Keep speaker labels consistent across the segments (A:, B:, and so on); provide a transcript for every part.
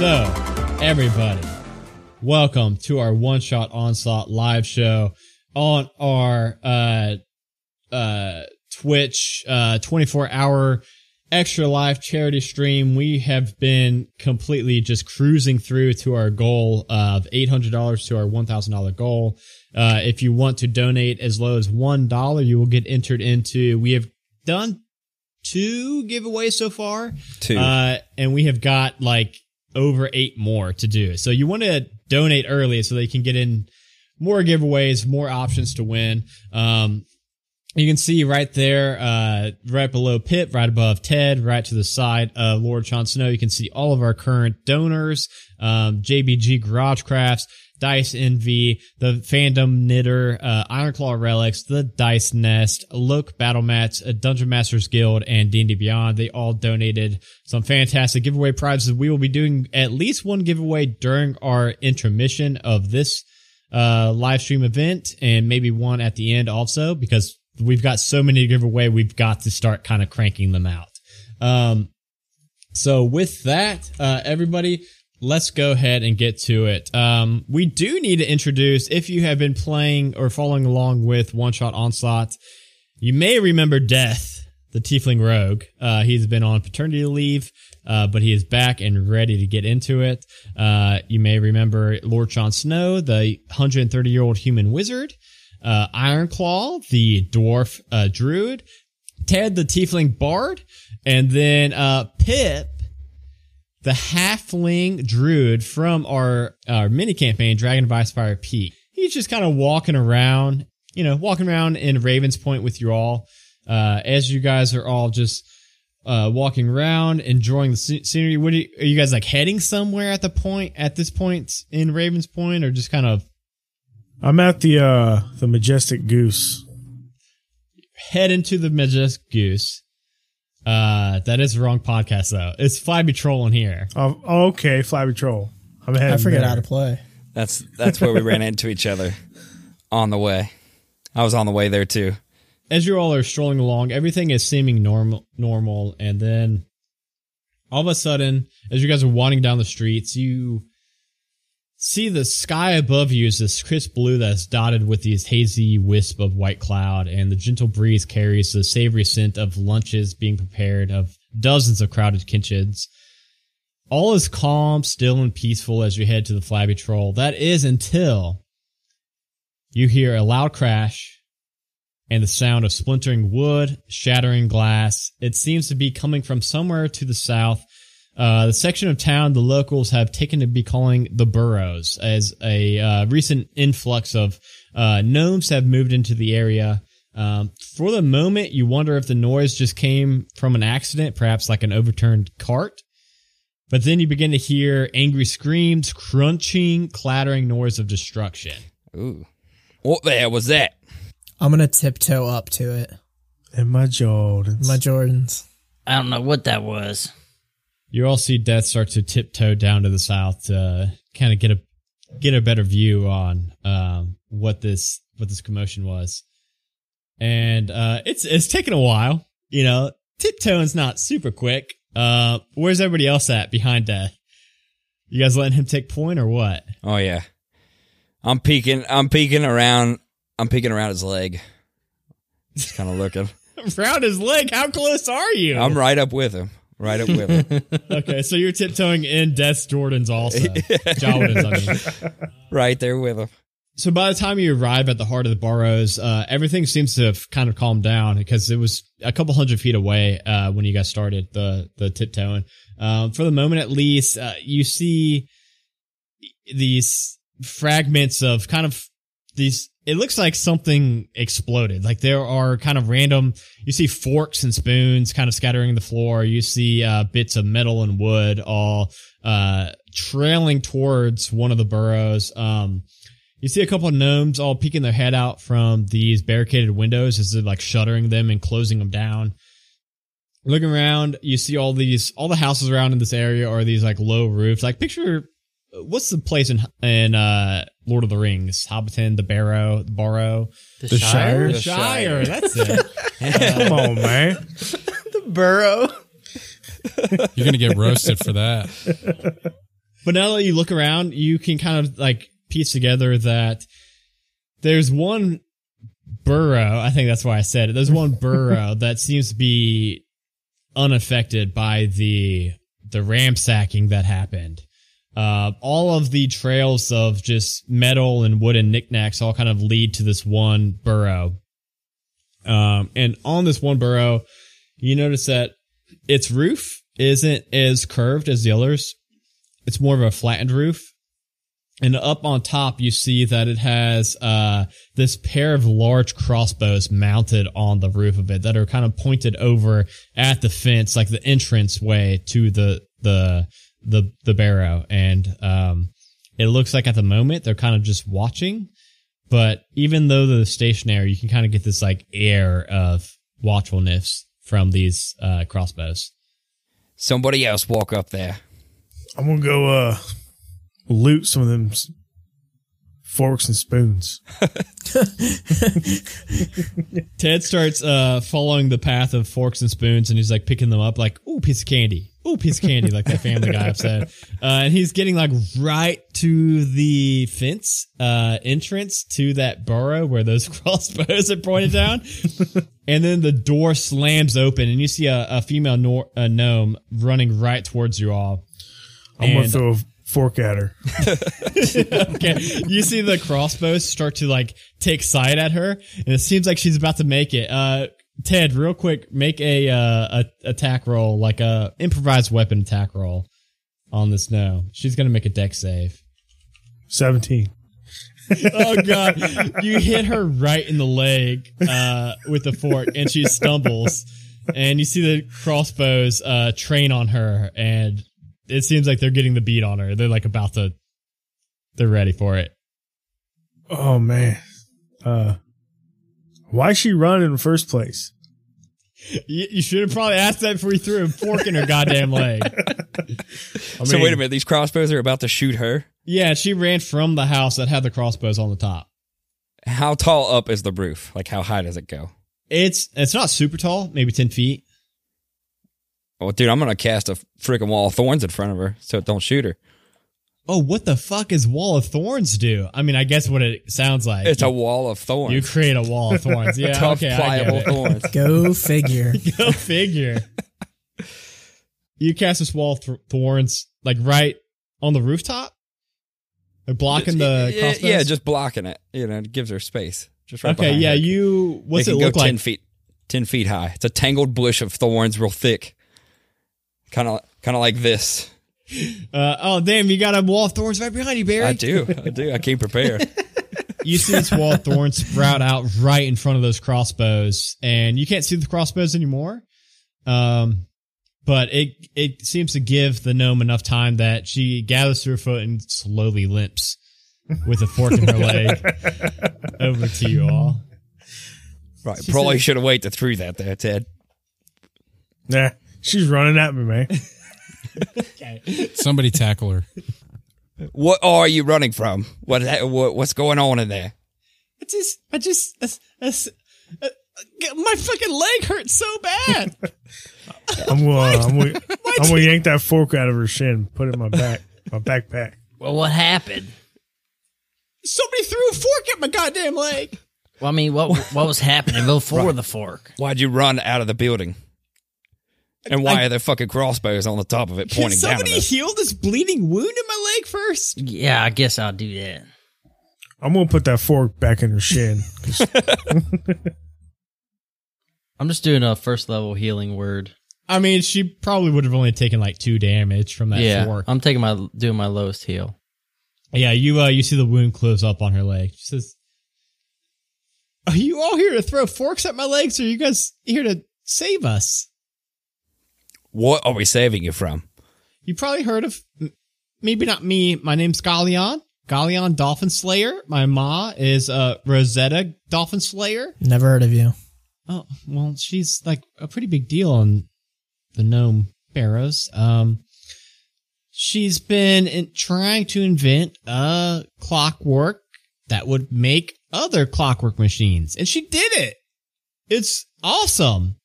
A: So, everybody, welcome to our One Shot Onslaught live show on our uh, uh, Twitch uh, 24 hour extra live charity stream. We have been completely just cruising through to our goal of $800 to our $1,000 goal. Uh, if you want to donate as low as $1, you will get entered into. We have done two giveaways so far.
B: Two.
A: Uh, and we have got like over eight more to do. So you want to donate early so they can get in more giveaways, more options to win. Um, you can see right there, uh, right below Pitt, right above Ted, right to the side of Lord Sean Snow. You can see all of our current donors, um, JBG Garage Crafts, Dice Envy, the Fandom Knitter, uh, Iron Claw Relics, the Dice Nest, Loke Battle Mats, uh, Dungeon Masters Guild, and D&D Beyond. They all donated some fantastic giveaway prizes. We will be doing at least one giveaway during our intermission of this uh, live stream event and maybe one at the end also because we've got so many to give away. We've got to start kind of cranking them out. Um, so with that, uh, everybody, let's go ahead and get to it. Um, we do need to introduce if you have been playing or following along with One Shot Onslaught, you may remember Death, the Tiefling Rogue. Uh, he's been on paternity leave, uh, but he is back and ready to get into it. Uh, you may remember Lord Jon Snow, the 130 year old human wizard. Uh, Ironclaw, the dwarf uh, druid. Ted, the tiefling bard. And then uh, Pip, the halfling druid from our, our mini campaign, Dragon of Icefire Peak. He's just kind of walking around, you know, walking around in Raven's Point with you all, uh, as you guys are all just uh, walking around, enjoying the sce- scenery. What are you, are you guys like heading somewhere at the point at this point in Raven's Point, or just kind of
C: I'm at the uh the majestic goose.
A: head into the majestic goose? Uh, that is the wrong podcast though. It's Fly Be Trolling here.
C: Oh, oh, okay, Flabby Troll. I'm heading.
D: I forget
C: there.
D: how to play.
B: That's that's where we ran into each other on the way. I was on the way there too.
A: as you all are strolling along, everything is seeming normal, normal, and then all of a sudden, as you guys are wandering down the streets, you see the sky above you is this crisp blue that's dotted with these hazy wisp of white cloud, and the gentle breeze carries the savory scent of lunches being prepared of dozens of crowded kitchens. All is calm, still, and peaceful as you head to the flabby troll. That is until you hear a loud crash and the sound of splintering wood, shattering glass. It seems to be coming from somewhere to the south. Uh, the section of town the locals have taken to be calling the burrows, as a uh, recent influx of uh, gnomes have moved into the area. Um, for the moment, you wonder if the noise just came from an accident, perhaps like an overturned cart. But then you begin to hear angry screams, crunching, clattering noise of destruction.
B: Ooh. What the hell was that?
D: I'm gonna tiptoe up to it.
C: And my Jordans.
D: My Jordans.
E: I don't know what that was.
A: you all see death start to tiptoe down to the south to kind of get a get a better view on um, what this what this commotion was and uh, it's it's taken a while you know tiptoeing's not super quick uh, where's everybody else at behind death you guys letting him take point or what
B: Oh yeah. I'm peeking I'm peeking around I'm peeking around his leg. Just kind of looking.
A: round his leg how close are you
B: I'm right up with him. Right up with him.
A: okay so you're tiptoeing in death's jordans also jordans i mean
B: Right there with him.
A: So by the time you arrive at the heart of the burrows, uh, everything seems to have kind of calmed down because it was a couple hundred feet away uh, when you guys started the the tiptoeing. Um, for the moment, at least, uh, you see these fragments of kind of these. It looks like something exploded. Like there are kind of random. You see forks and spoons kind of scattering the floor. You see uh, bits of metal and wood all uh, trailing towards one of the burrows. Um, you see a couple of gnomes all peeking their head out from these barricaded windows as they're like shuttering them and closing them down. Looking around, you see all these, all the houses around in this area are these like low roofs. Like picture, what's the place in in uh Lord of the Rings, Hobbiton, the Barrow, the Barrow,
C: the Shire.
B: The Shire.
A: That's it.
C: Come on, man.
D: Burrow.
F: You're gonna get roasted for that.
A: But now that you look around, you can kind of like piece together that there's one burrow. I think that's why I said it. There's one burrow that seems to be unaffected by the the ransacking that happened. Uh, all of the trails of just metal and wooden knickknacks all kind of lead to this one burrow. Um, and on this one burrow, you notice that its roof isn't as curved as the others. It's more of a flattened roof. And up on top, you see that it has uh, this pair of large crossbows mounted on the roof of it that are kind of pointed over at the fence, like the entrance way to the the the the barrow. And um, it looks like at the moment they're kind of just watching. But even though they're stationary, you can kind of get this like air of watchfulness from these uh, crossbows.
B: Somebody else walk up there.
C: I'm gonna go uh loot some of them s- forks and spoons.
A: Ted starts uh, following the path of forks and spoons, and he's like picking them up, like "Ooh, piece of candy! Ooh, piece of candy!" like that Family Guy episode. Uh, and he's getting like right to the fence uh, entrance to that burrow where those crossbows are pointed down, and then the door slams open, and you see a, a female nor- a gnome running right towards you all.
C: I'm gonna
A: And-
C: throw a fork at her.
A: okay. You see the crossbows start to like take side at her, and it seems like she's about to make it. Uh, Ted, real quick, make a uh, a attack roll, like a improvised weapon attack roll on this. No, she's gonna make a deck save.
C: Seventeen.
A: Oh god, you hit her right in the leg uh, with the fork, and she stumbles. And you see the crossbows uh, train on her, and it seems like they're getting the beat on her. They're like about to, they're ready for it.
C: Oh man. Uh why she run in the first place?
A: You, you should have probably asked that before you threw a fork in her goddamn leg.
C: I
B: so
C: mean,
B: wait a minute, these crossbows are about to shoot her.
A: Yeah, she ran from the house that had the crossbows on the top.
B: How tall up is the roof? Like how high does it go?
A: It's it's not super tall, maybe ten feet.
B: Well, Oh, dude, I'm gonna cast a freaking wall of thorns in front of her so it don't shoot her.
A: Oh, what the fuck is Wall of Thorns do? I mean, I guess what it sounds like.
B: It's a wall of thorns.
A: you create a wall of thorns. Yeah,
B: Tough,
A: okay, I
B: pliable
A: get
B: thorns.
D: Go figure.
A: it. Go figure. you cast this wall of th- thorns like right on the rooftop, like blocking the
B: yeah,
A: crossbows.
B: yeah, just blocking it. You know, it gives her space. Just right
A: okay.
B: behind
A: Yeah,
B: her.
A: you. What's
B: They
A: it
B: can
A: look
B: go
A: like?
B: Ten feet, ten feet high. It's a tangled bush of thorns, real thick. Kind of, kind of like this.
A: Uh, oh, damn! You got a wall of thorns right behind you, Barry.
B: I do, I do. I came prepared.
A: you see this wall of thorns sprout out right in front of those crossbows, and you can't see the crossbows anymore. Um, but it it seems to give the gnome enough time that she gathers to her foot and slowly limps with a fork in her leg over to you all.
B: Right, probably should have waited through that there, Ted.
C: Nah, she's running at me, man.
F: Somebody tackle her.
B: What are you running from? What, what what's going on in there?
A: I just, I just, my fucking leg hurts so bad.
C: I'm gonna I'm gonna, I'm gonna yank that fork out of her shin, and put it in my back, my backpack.
E: Well, what happened?
A: Somebody threw a fork at my goddamn leg.
E: Well, I mean, what what was happening before the fork?
B: Why'd you run out of the building? And why are there fucking crossbows on the top of it pointing down? At us?
A: heal this bleeding wound in my leg first?
E: Yeah, I guess I'll do that.
C: I'm gonna put that fork back in her shin.
G: I'm just doing a first level healing word.
A: I mean, she probably would have only taken like two damage from that
G: yeah,
A: fork.
G: I'm taking my doing my lowest heal.
A: yeah, you uh, you see the wound close up on her leg. She says, "Are you all here to throw forks at my legs, or are you guys here to save us?
B: What are we saving you from?
A: You probably heard of, m- maybe not me. My name's Galleon, Galleon Dolphin Slayer. My ma is uh, Rosetta Dolphin Slayer.
D: Never heard of you.
A: Oh, well, she's like a pretty big deal on the gnome pharaohs. Um, she's been in, trying to invent a clockwork that would make other clockwork machines, and she did it. It's awesome.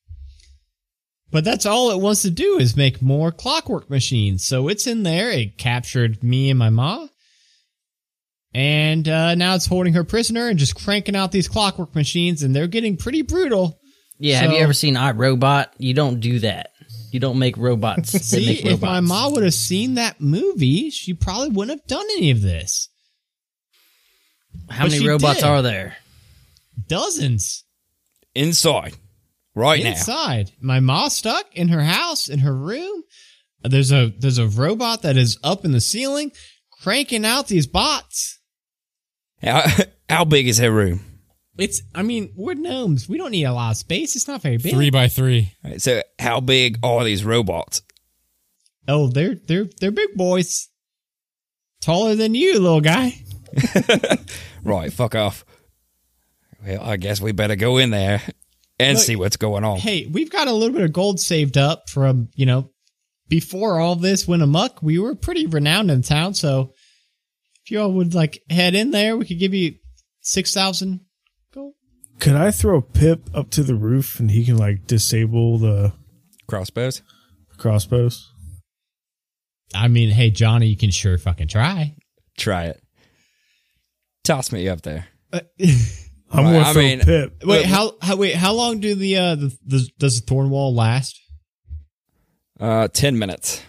A: But that's all it wants to do is make more clockwork machines. So it's in there. It captured me and my ma. And uh, now it's holding her prisoner and just cranking out these clockwork machines, and they're getting pretty brutal.
E: Yeah, have you
A: So-
E: ever seen iRobot? You don't do that. You don't make robots. that
A: See,
E: make
A: if my
E: robots.
A: ma would have seen that movie, she probably wouldn't have done any of this.
E: How
A: but
E: many
A: she
E: robots
A: did.
E: are there?
A: Dozens
B: Inside, right now.
A: inside. My ma stuck in her house in her room. There's a there's a robot that is up in the ceiling, cranking out these bots.
B: How, how big is her room?
A: It's I mean we're gnomes. We don't need a lot of space. It's not very big.
F: Three by three.
B: All right, So, how big are these robots?
A: Oh, they're they're they're big boys. Taller than you, little guy.
B: Right, fuck off. Well, I guess we better go in there and
A: Look-
B: see what's going on.
A: Hey, we've got a little bit of gold saved up from you know before all this went amuck. We were pretty renowned in town, so if y'all would like head in there, we could give you six thousand gold.
C: Could I throw Pip up to the roof and he can like disable the
B: Crossbows?
C: crossbows?
A: I mean, hey, Johnny, you can sure fucking try.
B: Try it. Toss me up there.
C: I'm
B: Right,
C: gonna
B: I
C: throw
B: mean-
C: Pip.
A: Uh, Wait, how, how wait how long do the uh the, the does the thorn wall last?
B: Uh, 10 minutes.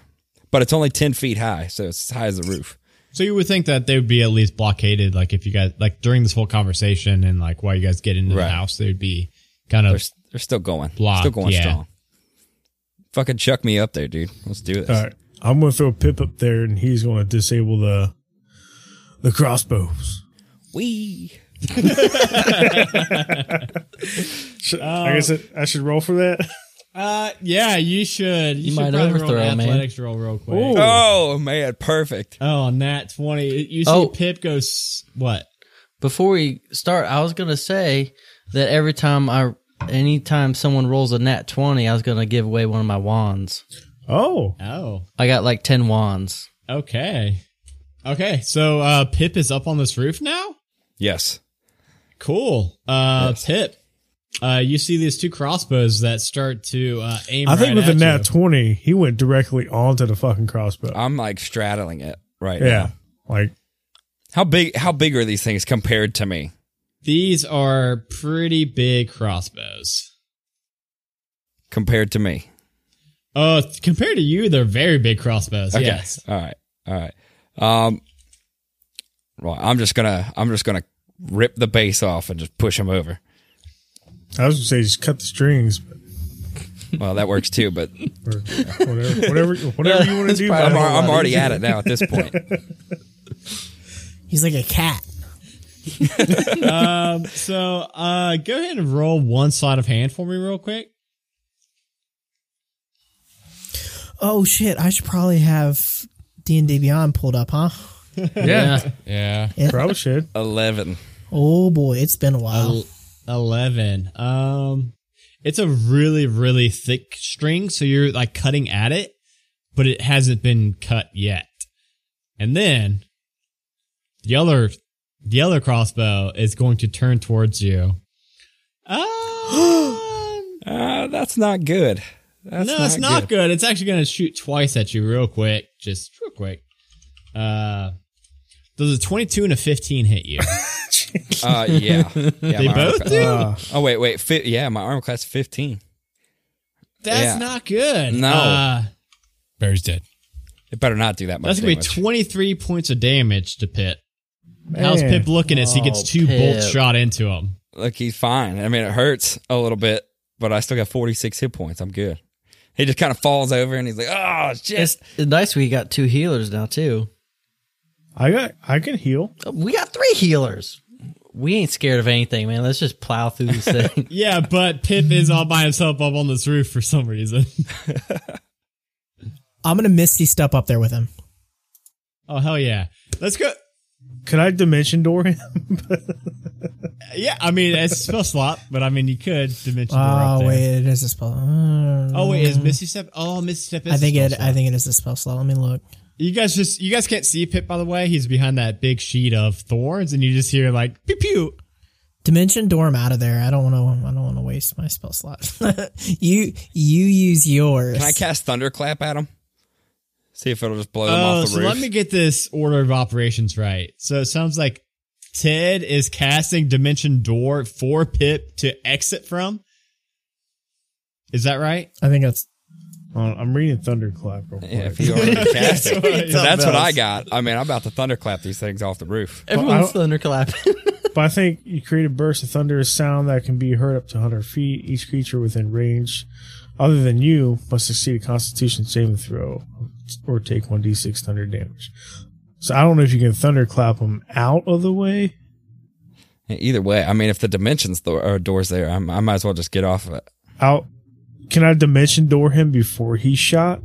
B: But it's only 10 feet high, so it's as high as the roof.
A: So you would think that they would be at least blockaded, like if you guys like during this whole conversation and like while you guys get into
B: Right.
A: the house, they'd be kind of
B: They're, they're still going.
A: Blocked,
B: still going
A: yeah.
B: strong. Fucking chuck me up there, dude. Let's do this.
C: All right, I'm gonna throw Pip up there and he's gonna disable the the crossbows.
B: Wee.
C: Should, I guess I, I should roll for that.
A: uh yeah, you should you,
G: You
A: should
G: might
A: probably roll
G: overthrow,
A: an
G: man.
A: athletics roll real quick.
C: Ooh.
B: Oh, man. Perfect.
A: Oh, on that twenty, you see
G: Oh.
A: Pip goes what?
G: Before we start, I was gonna say that every time I, anytime someone rolls a nat twenty, I was gonna give away one of my wands.
C: Oh,
A: Oh,
G: I got like ten wands.
A: okay, okay. So uh Pip is up on this roof now.
B: Yes.
A: Cool. Uh,
B: Yes.
A: Pip, uh, you see these two crossbows that start to uh, aim.
C: I think
A: right
C: with a
A: at
C: nat
A: you.
C: twenty, he went directly onto the fucking crossbow.
B: I'm like straddling it right
C: yeah,
B: now.
C: like
B: How big, how big are these things compared to me?
A: These are pretty big crossbows.
B: Compared to me.
A: Uh, compared to you, they're very big crossbows.
B: Okay.
A: Yes.
B: All right. All right. Um, right. I'm just gonna I'm just gonna rip the base off and just push him over.
C: I was gonna say, just cut the strings, but
B: Well, that works too. But I'm,
C: or whatever, whatever, whatever you want to do.
B: al-
C: man.
B: I'm already at it now at this point.
D: He's like a cat.
A: Um, so, uh, go ahead and roll one sleight of hand for me, real quick.
D: Oh shit! I should probably have D and D Beyond pulled up, huh?
G: Yeah,
F: Yeah.
C: Probably should.
B: Eleven.
D: Oh boy, it's been a
A: Oh.
D: while.
A: Eleven. Um, it's a really, really thick string, so you're like cutting at it, but it hasn't been cut yet. And then the other, the other crossbow is going to turn towards you. Um,
B: Uh, that's not good. That's
A: no, it's not good. It's actually going to shoot twice at you, real quick, just real quick. Uh, does a twenty-two and a fifteen hit you?
B: Uh, yeah. yeah
A: they
B: my armor
A: both
B: class-
A: do.
B: Oh wait, wait. Fi- yeah, my armor class is fifteen.
A: That's
B: Yeah.
A: not good.
B: No.
A: Uh,
F: Bear's dead.
B: It better not do that much.
A: That's gonna be
B: damage.
A: twenty three points of damage to Pip. How's Pip looking as he gets
G: Oh,
A: two
G: Pip.
A: bolts shot into him?
B: Look, he's fine. I mean, it hurts a little bit, but I still got forty six hit points. I'm good. He just kind of falls over and he's like, "Oh shit!"
G: it's nice we got two healers now too.
C: I got. I can heal.
G: We got three healers. We ain't scared of anything, man. Let's just plow through this thing.
A: Yeah, but Pip is all by himself up on this roof for some reason.
D: I'm gonna misty step up there with him.
A: oh hell yeah! Let's go.
C: Could I dimension door him?
A: Yeah, I mean it's a spell slot, but I mean you could dimension door up
D: Oh
A: there.
D: wait, it is a spell.
A: Oh wait, is Misty Step? Oh, Misty Step is.
D: I think
A: a
D: it.
A: spell slot.
D: I think it is a spell slot. Let me look.
A: you guys just you guys can't see Pip by the way. He's behind that big sheet of thorns, and you just hear like pew pew.
D: Dimension Dorm out of there. I don't want to. I don't want to waste my spell slot. you you use yours.
B: Can I cast Thunderclap at him? See if it'll just blow them
A: Oh,
B: off the
A: so
B: roof.
A: let me get this order of operations right. So it sounds like Ted is casting Dimension Door for Pip to exit from. Is that right?
D: I think that's
C: Uh, I'm reading Thunderclap real quick.
B: yeah, if you already cast it.
A: Right.
B: So that's what I got. I mean, I'm about to thunderclap these things off the roof.
G: Everyone's thunderclap.
C: But I think you create a burst of thunderous sound that can be heard up to 100 feet. Each creature within range, other than you, must succeed a Constitution saving throw or take 1d6 thunder damage. So I don't know if you can thunderclap them out of the way.
B: Either way, I mean, if the dimensions th- or doors there, I'm, I might as well just get off of it.
C: Out. Can I dimension door him before he's shot?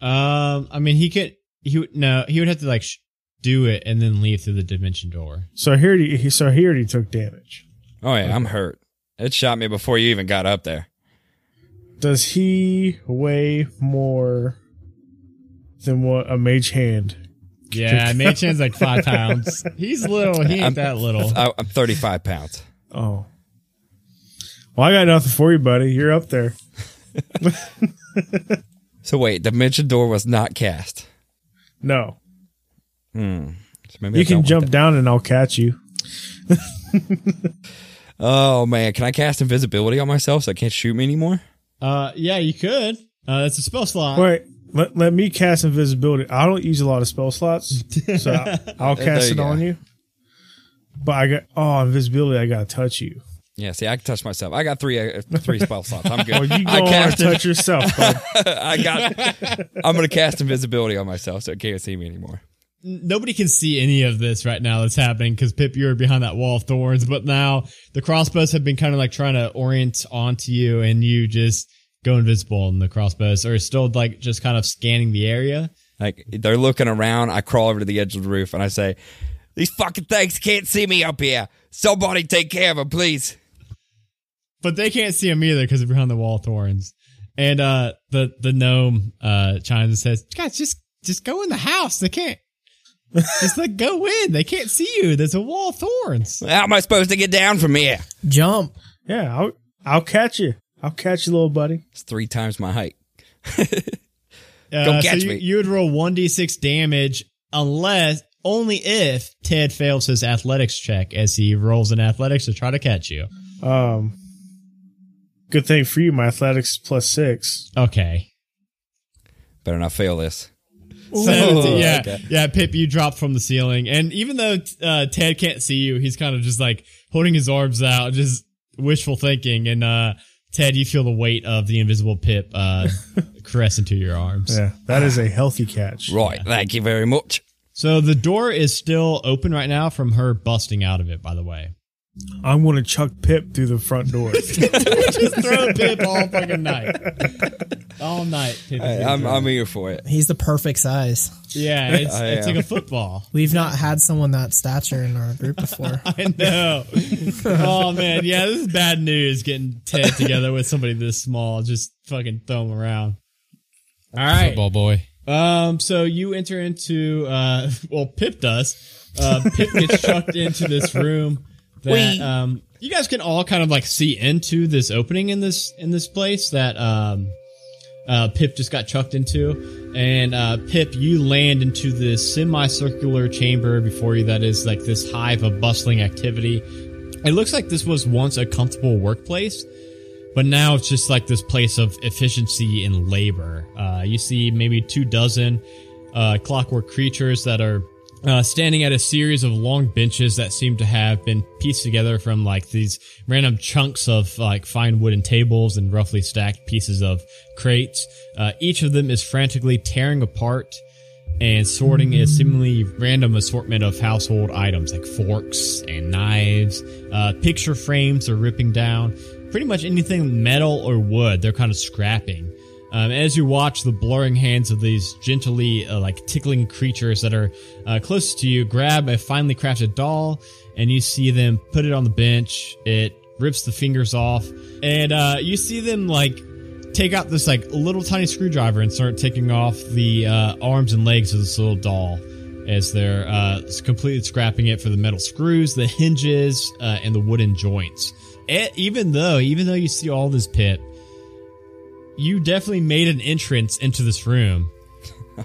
A: Um, I mean, he could. He would no. He would have to like sh- do it and then leave through the Dimension Door.
C: So here he, he- so he already took damage.
B: Oh yeah, I'm hurt. It shot me before you even got up there.
C: Does he weigh more than what a mage hand?
A: Yeah, Machan's like five pounds. He's little. He ain't
B: I'm-
A: that little.
B: I, I'm 35 pounds.
C: Oh. Well, I got nothing for you, buddy. You're up there.
B: So wait, dimension door was not cast.
C: No.
B: So maybe I
C: you
B: don't
C: can
B: want
C: jump
B: that.
C: down and I'll catch you.
B: Oh man, can I cast invisibility on myself so it can't shoot me anymore?
A: Uh, yeah, you could. Uh, that's a spell slot.
C: Wait, let, let me cast invisibility. I don't use a lot of spell slots, so I- I'll
B: There
C: cast
B: you
C: it
B: go.
C: on you. But I got oh invisibility. I gotta touch you.
B: Yeah, see, I can touch myself. I got three uh, three spell slots. I'm good.
C: Well, you
B: I
C: don't want
B: cast.
C: to touch yourself. bud.
B: I got. I'm gonna cast invisibility on myself so it can't see me anymore.
A: nobody can see any of this right now that's happening because Pip, you were behind that wall of thorns. But now the crossbows have been kind of like trying to orient onto you, and you just go invisible, and the crossbows are still like just kind of scanning the area.
B: Like they're looking around. I crawl over to the edge of the roof and I say, "These fucking things can't see me up here. Somebody take care of them, please."
A: But they can't see him either because they're behind the wall of thorns. And uh, the the gnome uh, chimes and says, "Guys, just just go in the house. They can't." just like go in. They can't see you. There's a wall of thorns.
B: How am I supposed to get down from here?
D: jump.
C: yeah, I'll I'll catch you. I'll catch you, little buddy.
B: It's three times my height.
A: Uh,
B: Don't catch
A: so you,
B: me.
A: you would roll 1d6 damage unless, only if Ted fails his athletics check as he rolls in athletics to try to catch you.
C: Um, good thing for you. My athletics is plus six.
A: Okay.
B: Better not fail this.
A: So,
B: Ooh.
A: yeah,
B: Okay.
A: yeah, Pip, you drop from the ceiling. And even though uh, Ted can't see you, he's kind of just like holding his arms out, just wishful thinking. And uh, Ted, you feel the weight of the invisible Pip uh, caress into your arms.
C: Yeah, that is a healthy catch.
B: Right. Thank you very much.
A: So the door is still open right now from her busting out of it, by the way.
C: I'm gonna chuck Pip through the front door.
A: throw Pip all fucking night. All night. Pip is
B: I'm,
A: gonna
B: I'm here for it.
D: He's the perfect size.
A: do it. yeah, it's,
B: I
A: it's
B: am.
A: like a football.
D: We've not had someone that stature in our group before.
A: I know. Oh, man. Yeah, this is bad news getting Ted together with somebody this small. Just fucking throw him around. All right.
F: Football boy.
A: Um, so you enter into, uh, well, Pip does. Uh, Pip gets chucked into this room that, um, you guys can all kind of like see into this opening in this, in this place that, um, uh, Pip just got chucked into. And uh, Pip, you land into this semicircular chamber before you that is like this hive of bustling activity. It looks like this was once a comfortable workplace, but now it's just like this place of efficiency and labor. Uh, you see maybe two dozen uh, clockwork creatures that are uh, standing at a series of long benches that seem to have been pieced together from like these random chunks of like fine wooden tables and roughly stacked pieces of crates. Uh, each of them is frantically tearing apart and sorting a seemingly random assortment of household items like forks and knives. Uh, picture frames are ripping down. Pretty much anything metal or wood, they're kind of scrapping. Um, as you watch the blurring hands of these gently, uh, like tickling creatures that are uh, closest to you, grab a finely crafted doll, and you see them put it on the bench. It rips the fingers off, and uh, you see them like take out this like little tiny screwdriver and start taking off the uh, arms and legs of this little doll. as they're uh, s- completely scrapping it for the metal screws, the hinges, uh, and the wooden joints. E- even though, even though you see all this pit, you definitely made an entrance into this room,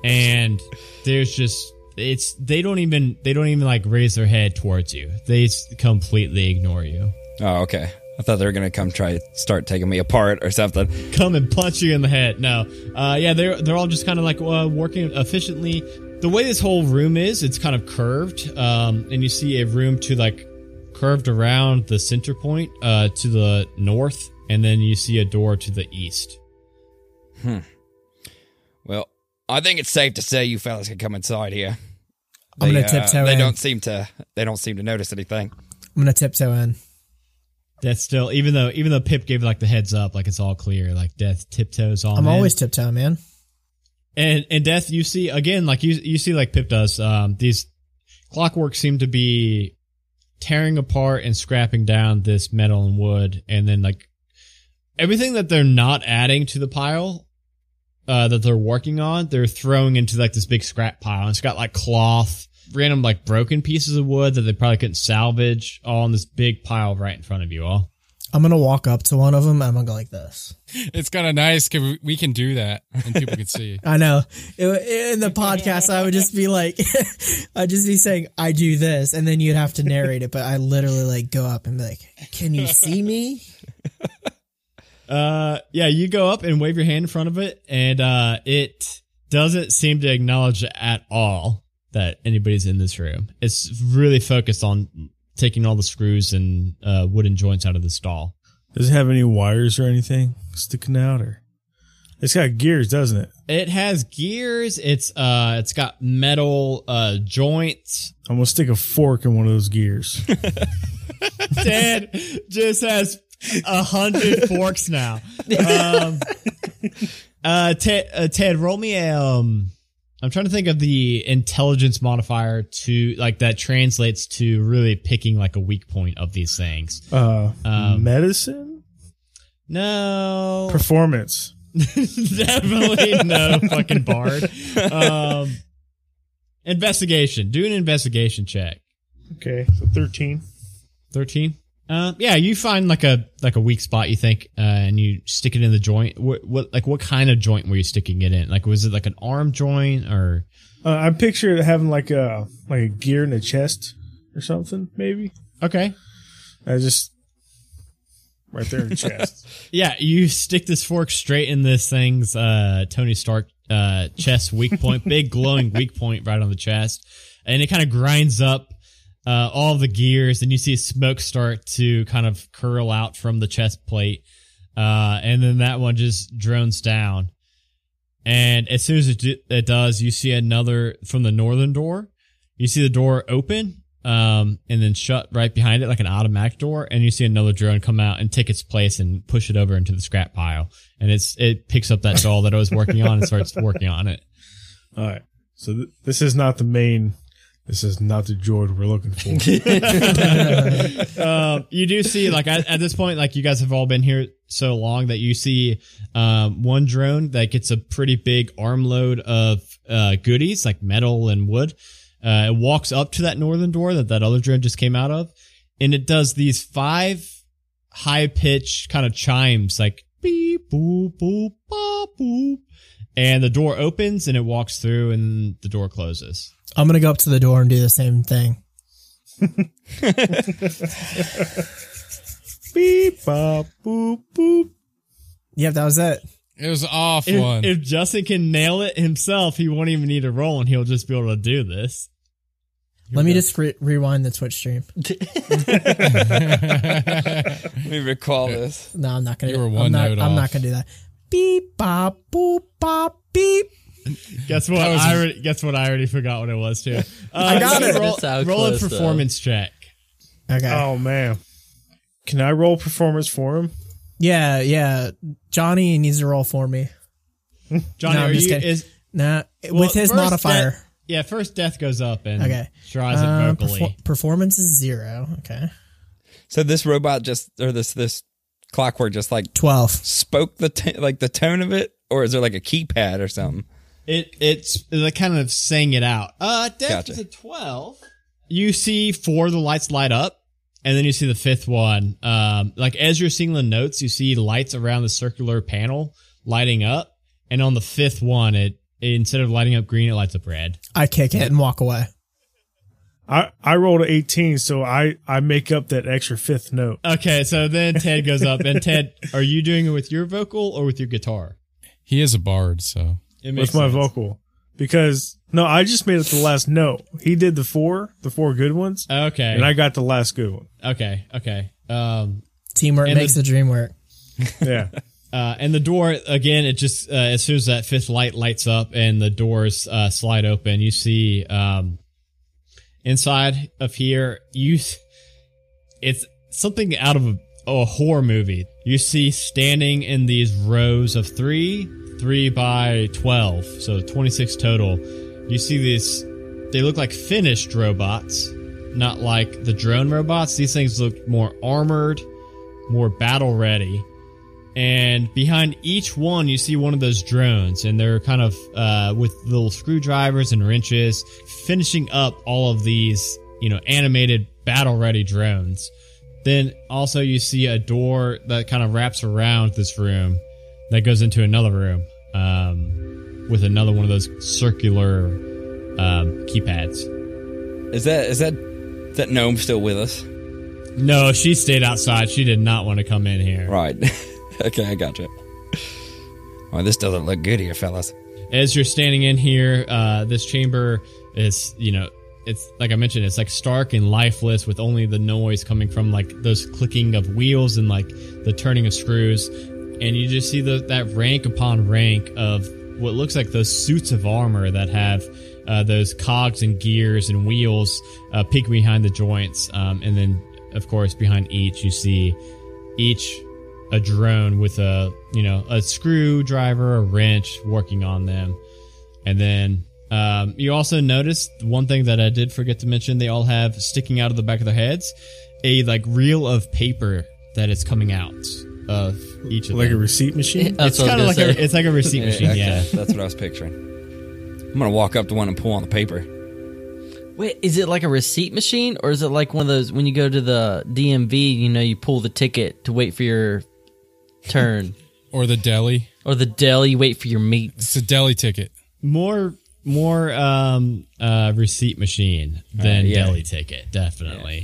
A: and there's just it's they don't even they don't even like raise their head towards you. They s- completely ignore you.
B: Oh, okay. I thought they were gonna come try start taking me apart or something.
A: come and punch you in the head. No, uh, yeah, they're they're all just kind of like uh, working efficiently. The way this whole room is, it's kind of curved, um, and you see a room to like curved around the center point uh, to the north, and then you see a door to the east.
B: Well, I think it's safe to say you fellas can come inside here.
D: I'm
B: They, uh,
F: uh,
D: gonna tiptoe
B: They
D: in.
B: don't seem to. They don't seem to notice anything.
D: I'm gonna tiptoe in.
A: That's still even though even though Pip gave like the heads up, like it's all clear, like Death tiptoes on.
F: Oh,
D: I'm
A: in.
D: always tiptoeing, man.
A: and and death you see again like you you see like pip does um these clockwork seem to be tearing apart and scrapping down this metal and wood and then like everything that they're not adding to the pile uh that they're working on they're throwing into like this big scrap pile and it's got like cloth random like broken pieces of wood that they probably couldn't salvage all in this big pile right in front of you all
D: I'm gonna walk up to one of them. And I'm gonna go like this.
F: It's kind of nice because we can do that and people can see.
D: I know. It- it- in the podcast, I would just be like, I'd just be saying, "I do this," and then you'd have to narrate it. But I literally like go up and be like, "Can you see me?"
A: Uh, yeah, you go up and wave your hand in front of it, and uh, it doesn't seem to acknowledge at all that anybody's in this room. It's really focused on taking all the screws and uh, wooden joints out of the stall.
C: Does it have any wires or anything sticking out? Or it's got gears, doesn't it?
A: It has gears. It's uh, it's got metal uh joints.
C: I'm gonna stick a fork in one of those gears.
A: Dad just has a hundred forks now. Um, uh, Ted, uh, Ted, roll me a, um. I'm trying to think of the intelligence modifier to like that translates to really picking like a weak point of these things.
C: Uh,
A: Um,
C: medicine,
A: No,
C: performance.
A: definitely no fucking bard. Um, investigation. Do an investigation check.
C: Okay, so 13.
A: 13 uh, yeah you find like a like a weak spot you think uh, and you stick it in the joint what, what like what kind of joint were you sticking it in like was it like an arm joint or
C: Uh, I picture it having like a like a gear in the chest or something, maybe.
A: okay
C: I just right there in the chest.
A: yeah you stick this fork straight in this thing's uh tony stark uh chest weak point big glowing weak point right on the chest and it kind of grinds up uh, all the gears and you see smoke start to kind of curl out from the chest plate uh, and then that one just drones down and as soon as it, do, it does you see another from the northern door you see the door open um, and then shut right behind it like an automatic door and you see another drone come out and take its place and push it over into the scrap pile and it's it picks up that doll that i was working on and starts working on it
C: All right. So th- this is not the main. This is not the George we're looking for.
A: um, you do see like at, at this point like you guys have all been here so long that you see um, one drone that gets a pretty big armload of uh, goodies like metal and wood uh, it walks up to that northern door that that other drone just came out of and it does these five high pitched kind of chimes like beep boop boop ba, boop and the door opens and it walks through and the door closes
D: I'm gonna go up to the door and do the same thing.
C: Beep, bop, boop, boop.
D: Yep, that was it.
F: It was off
A: if,
F: one.
A: if Justin can nail it himself, he won't even need a roll, and he'll just be able to do this.
D: Let me just re- rewind the Twitch stream.
B: Let me recall this.
D: No, I'm not gonna.
F: You
D: do
F: were
D: I'm
F: one
D: not-
F: note
D: I'm not
F: off.
D: gonna do that. Beep bop boop bop beep.
A: Guess what?
F: was
A: I
F: a-
A: already, guess what? I already forgot what it was too. Uh,
D: I got
A: you
D: it.
A: Roll,
G: That's how
A: roll a
G: close, though.
A: performance check.
D: Okay.
C: Oh man. Can I roll performance for him?
D: Yeah, yeah. Johnny needs to roll for me.
A: Johnny,
D: No, I'm
A: are
D: just
A: you
D: kidding.
A: is
D: Nah,
A: well,
D: with his
A: first
D: modifier.
A: death- yeah, first death goes up and
D: Okay.
A: tries it
D: Uh,
A: vocally.
D: perfor- performance is zero. Okay.
B: So this robot just or this this clockwork just like
D: 12.
B: spoke the t- like the tone of it, or is there like a keypad or something?
A: it it's they kind of sang it out. Uh, death
B: Gotcha.
A: is a twelve. You see four of the lights light up, and then you see the fifth one. Um, like as you're seeing the notes, you see lights around the circular panel lighting up, and on the fifth one, it, it instead of lighting up green, it lights up red.
D: I kick it and walk away.
C: I, I rolled an 18, so I, I make up that extra fifth note.
A: Okay, so then Ted goes up, and Ted, are you doing it with your vocal or with your guitar?
F: He is a bard, so
A: It
C: with my
A: sense.
C: vocal because no, I just made it the last note. He did the four, the four good ones,
A: Okay,
C: and I got the last good one.
A: okay, okay. Um,
D: Teamwork
A: And
D: makes the, dream work.
C: Yeah,
A: Uh, and the door again. It just uh, as soon as that fifth light lights up and the doors uh, slide open, you see um, inside of here. You, s- it's something out of a, a horror movie. You see standing in these rows of three, three by twelve, so twenty six total. You see these. They look like finished robots, not like the drone robots. These things look more armored, more battle ready and behind each one you see one of those drones and they're kind of uh, with little screwdrivers and wrenches finishing up all of these you know animated battle ready drones then also you see a door that kind of wraps around this room that goes into another room um, with another one of those circular um, keypads
B: Is that is that that gnome still with us?
A: no she stayed outside she did not want to come in here
B: Right. okay, I gotcha. Well, this doesn't look good here, fellas.
A: as you're standing in here, uh, this chamber is, you know, it's like I mentioned, it's like stark and lifeless with only the noise coming from like those clicking of wheels and like the turning of screws. And you just see the, that rank upon rank of what looks like those suits of armor that have uh, those cogs and gears and wheels uh, peeking behind the joints. Um, and then, of course, behind each, you see each a drone with a you know a screwdriver a wrench working on them and then um, you also noticed one thing that i did forget to mention they all have sticking out of the back of their heads a like reel of paper that is coming out of each of
C: like a
A: them
C: receipt machine.
G: That's
A: it's kind of like a, it's like a receipt machine
B: okay,
A: yeah
B: That's what I was picturing. I'm gonna walk up to one and pull on the paper.
G: Wait, is it like a receipt machine, or is it like one of those when you go to the DMV, you know, you pull the ticket to wait for your turn,
F: or the deli.
G: or the deli, you wait for your meat?
F: It's a deli ticket.
A: more more um uh receipt machine than
B: yeah.
A: deli ticket definitely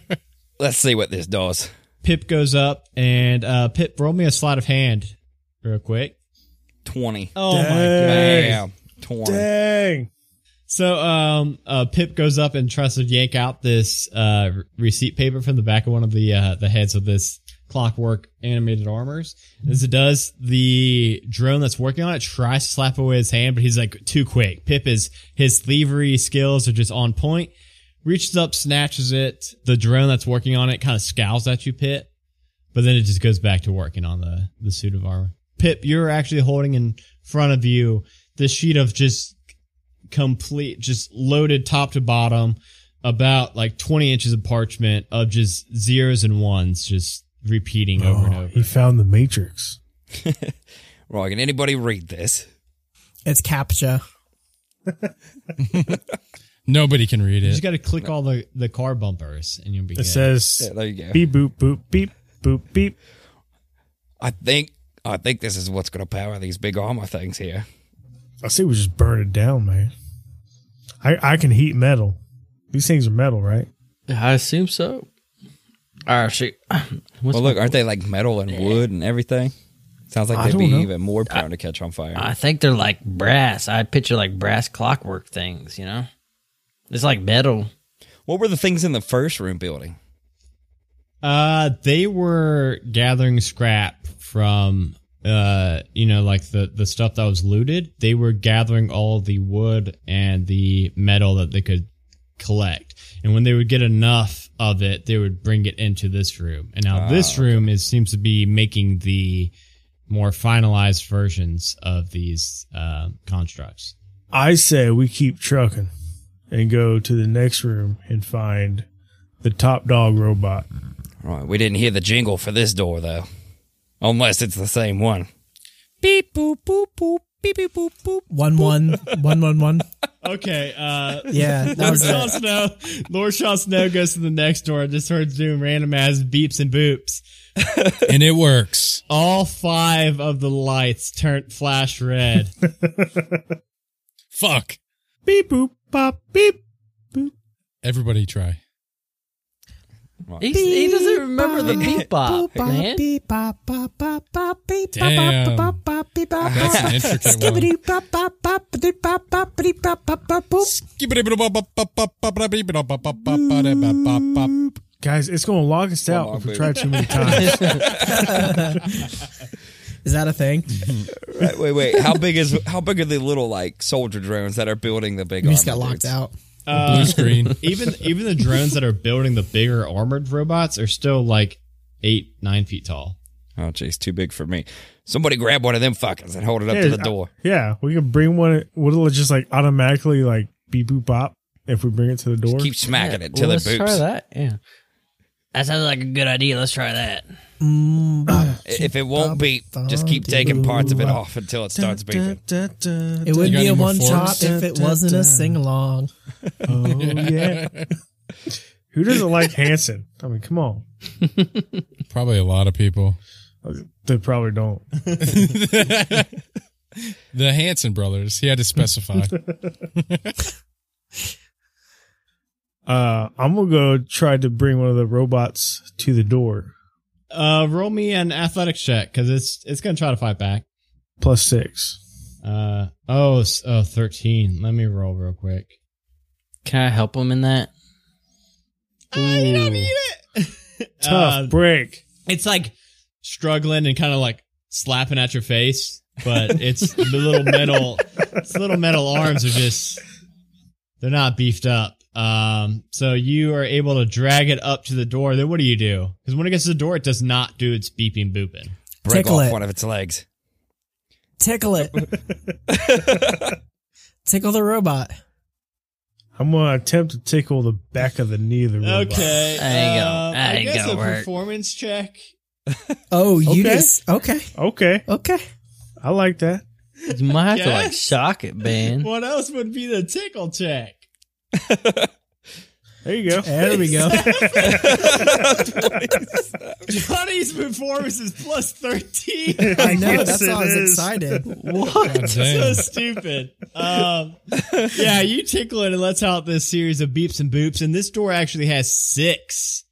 B: Let's see what this does.
A: pip goes up and uh pip roll me a sleight of hand real quick
B: Twenty.
A: oh my
C: Dang.
B: Bam. Twenty.
C: Dang,
A: So, um, uh, Pip goes up and tries to yank out this uh, re- receipt paper from the back of one of the uh, the heads of this clockwork animated armors. As it does, the drone that's working on it tries to slap away his hand, but he's like too quick. Pip is his thievery skills are just on point. Reaches up, snatches it. The drone that's working on it kind of scowls at you, Pip, but then it just goes back to working on the the suit of armor. Pip, you're actually holding in front of you this sheet of just complete, just loaded top to bottom, about like 20 inches of parchment of just zeros and ones, just repeating over and
C: Oh,
A: over.
C: he found the Matrix.
B: Right? Can anybody read this?
D: It's captcha.
F: Nobody can read
A: You
F: it.
A: just got to click all the, the car bumpers and you'll be
C: It
A: good.
C: says
B: Yeah, there you go.
C: beep boop boop beep boop beep.
B: I think I think this is what's gonna power these big armor things here.
C: I say we just burn it down, man. I I can heat metal. These things are metal, right?
G: I assume so. All right, shoot. What's
B: Well, look, aren't they like metal and wood and everything? Sounds
C: I
B: like they'd
C: don't
B: be
C: know.
B: even more prone to catch on fire.
G: I think they're like brass. I picture like brass clockwork things, you know? It's like metal.
B: what were the things in the first room building?
A: Uh, they were gathering scrap from, uh, you know, like the, the stuff that was looted. They were gathering all the wood and the metal that they could collect. And when they would get enough of it, they would bring it into this room. And now this room is seems to be making the more finalized versions of these uh, constructs.
C: I say we keep trucking and go to the next room and find the top dog robot.
B: Right, we didn't hear the jingle for this door though, unless it's the same one. Beep boop boop boop
D: beep beep boop boop one one one one one.
A: Okay. Uh,
D: Yeah, that
A: Lord
D: was
A: Shaw
D: it.
A: Snow. Lord Shaw Snow goes to the next door. I just heard Zoom random as beeps and boops.
F: and it works.
A: All five of the lights turn flash red.
F: Fuck.
C: Beep boop pop beep.
F: Everybody try.
G: He, he doesn't remember the beep bop, man.
D: Beep bop bop bop bop beep
F: Damn.
D: bop bop bop beep bop.
F: That's an intricate one.
D: Skibbity bop bop bop boop bop bop boop bop bop bop boop.
C: Guys, it's gonna log us out
B: log,
C: if we
B: baby.
C: try too many times.
D: Is that a thing?
G: Mm-hmm.
B: Right, wait, wait. How big is how big are the little like soldier drones that are building the big?
D: We just got
B: armor
D: locked
B: dudes?
D: out.
F: Blue
A: Uh,
F: screen.
A: even even the drones that are building the bigger armored robots are still like eight nine feet tall.
B: Oh, jeez, too big for me. Somebody grab one of them fuckers and hold it up to
C: Yeah,
B: the door.
C: yeah, we can bring one. Will it just like automatically like beep boop bop if we bring it to the door?
B: Keep smacking it
G: Well,
B: till
G: let's
B: it
G: try
B: boops.
G: that. Yeah.
E: That sounds like a good idea. Let's try that.
B: If it won't beep, just keep taking parts of it off until it starts beeping.
D: It would
F: got
D: be
F: any
D: a
F: more
D: one top
F: forks?
D: if it wasn't a sing along.
C: Oh yeah. Who doesn't like Hanson? I mean, come on.
F: Probably a lot of people.
C: They probably don't.
F: The Hanson brothers. He had to specify.
C: Uh, I'm gonna go try to bring one of the robots to the door.
A: Uh, roll me an athletics check because it's it's gonna try to fight back.
C: Plus six.
A: Uh oh, s- oh 13. Let me roll real quick.
G: Can I help him in that?
A: Uh,
D: Uh,
C: Tough break.
A: it's like struggling and kind of like slapping at your face, but it's the little metal, its little metal arms are just they're not beefed up. Um, so you are able to drag it up to the door. Then what do you do? Because when it gets to the door, it does not do its beeping booping.
B: Break
D: Tickle
B: off
D: it.
B: one of its legs.
D: Tickle it. Tickle the robot.
C: I'm gonna attempt to tickle the back of the knee of the robot.
A: Okay,
E: There you go.
A: um,
E: That
A: I
E: ain't
A: guess
E: gonna
A: a
E: work.
A: performance check.
D: Oh, you
C: Okay.
D: just okay,
C: Okay.
D: okay.
C: I like that.
G: You might have to like
A: Yes.
G: shock it, man.
A: What else would be the tickle check?
C: There you go.
D: There we go.
A: Johnny's performance is plus thirteen.
D: I know.
C: Yes,
D: that's why I was
C: it is.
D: excited.
F: God
A: so
F: damn.
A: stupid. Um, yeah, you tickle it and let's out this series of beeps and boops. And this door actually has six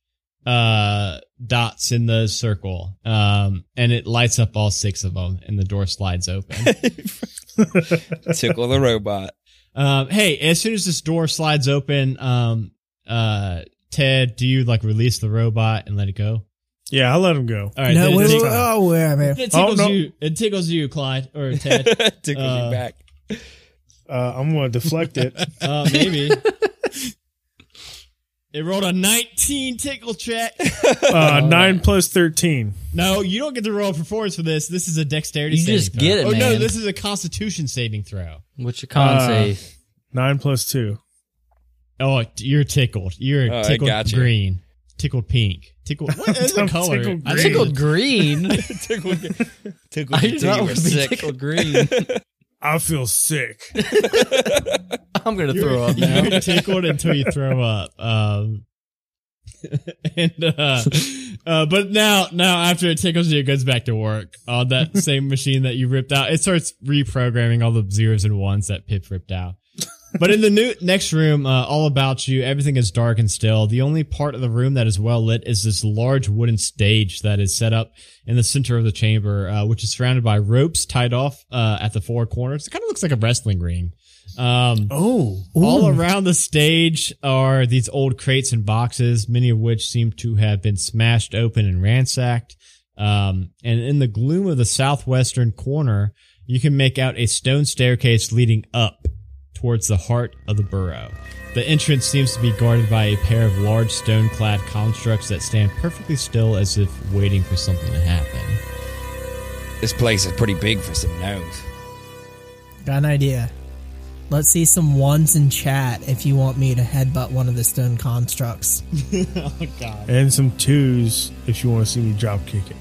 A: uh, dots in the circle, um, and it lights up all six of them, and the door slides open.
B: Tickle the robot.
A: um, hey, as soon as this door slides open, um, uh, Ted, do you like release the robot and let it go?
C: Yeah, I'll let him go.
A: All right,
D: no,
A: then it
D: wait, wait,
A: tick-
D: wait, oh, where am I?
A: it tickles
C: Oh, no.
A: you. It tickles you, Clyde or Ted.
B: Tickle
A: Uh,
B: you back.
C: Uh, I'm gonna deflect it.
A: Uh, maybe. it rolled a 19 tickle check.
C: Uh, nine plus thirteen.
A: No, you don't get to roll a performance for this. This is a dexterity
G: You
A: saving
G: just
A: throw.
G: get it,
A: Oh, no,
G: man.
A: this is a constitution saving throw.
G: What's your con
C: Uh,
G: save?
C: Nine plus two.
A: Oh, you're tickled. You're
B: Oh, I
A: tickled
B: got you.
A: green. Tickled pink. Tickled. What is the
C: I'm
A: color?
C: tickled
A: I
C: green.
G: Tickled green.
B: Tickle, tickle
G: I
B: you
G: did
B: till
G: not
B: you
G: want
B: were
G: to be
B: sick.
G: tickled green.
C: I feel sick.
G: I'm gonna throw up now.
A: You're tickled until you throw up. Um, and uh, uh, but now, now after it tickles you, it goes back to work on that same machine that you ripped out. It starts reprogramming all the zeros and ones that Pip ripped out. But in the new next room, uh, all about you, everything is dark and still. The only part of the room that is well lit is this large wooden stage that is set up in the center of the chamber, uh, which is surrounded by ropes tied off uh, at the four corners. It kind of looks like a wrestling ring. Um,
C: Oh,
A: all around the stage are these old crates and boxes, many of which seem to have been smashed open and ransacked. Um, and in the gloom of the southwestern corner, you can make out a stone staircase leading up towards the heart of the burrow. The entrance seems to be guarded by a pair of large stone clad constructs that stand perfectly still as if waiting for something to happen.
B: This place is pretty big for some gnomes.
D: Got an idea. Let's see some ones in chat if you want me to headbutt one of the stone constructs.
C: and some twos if you want to see me drop kick it.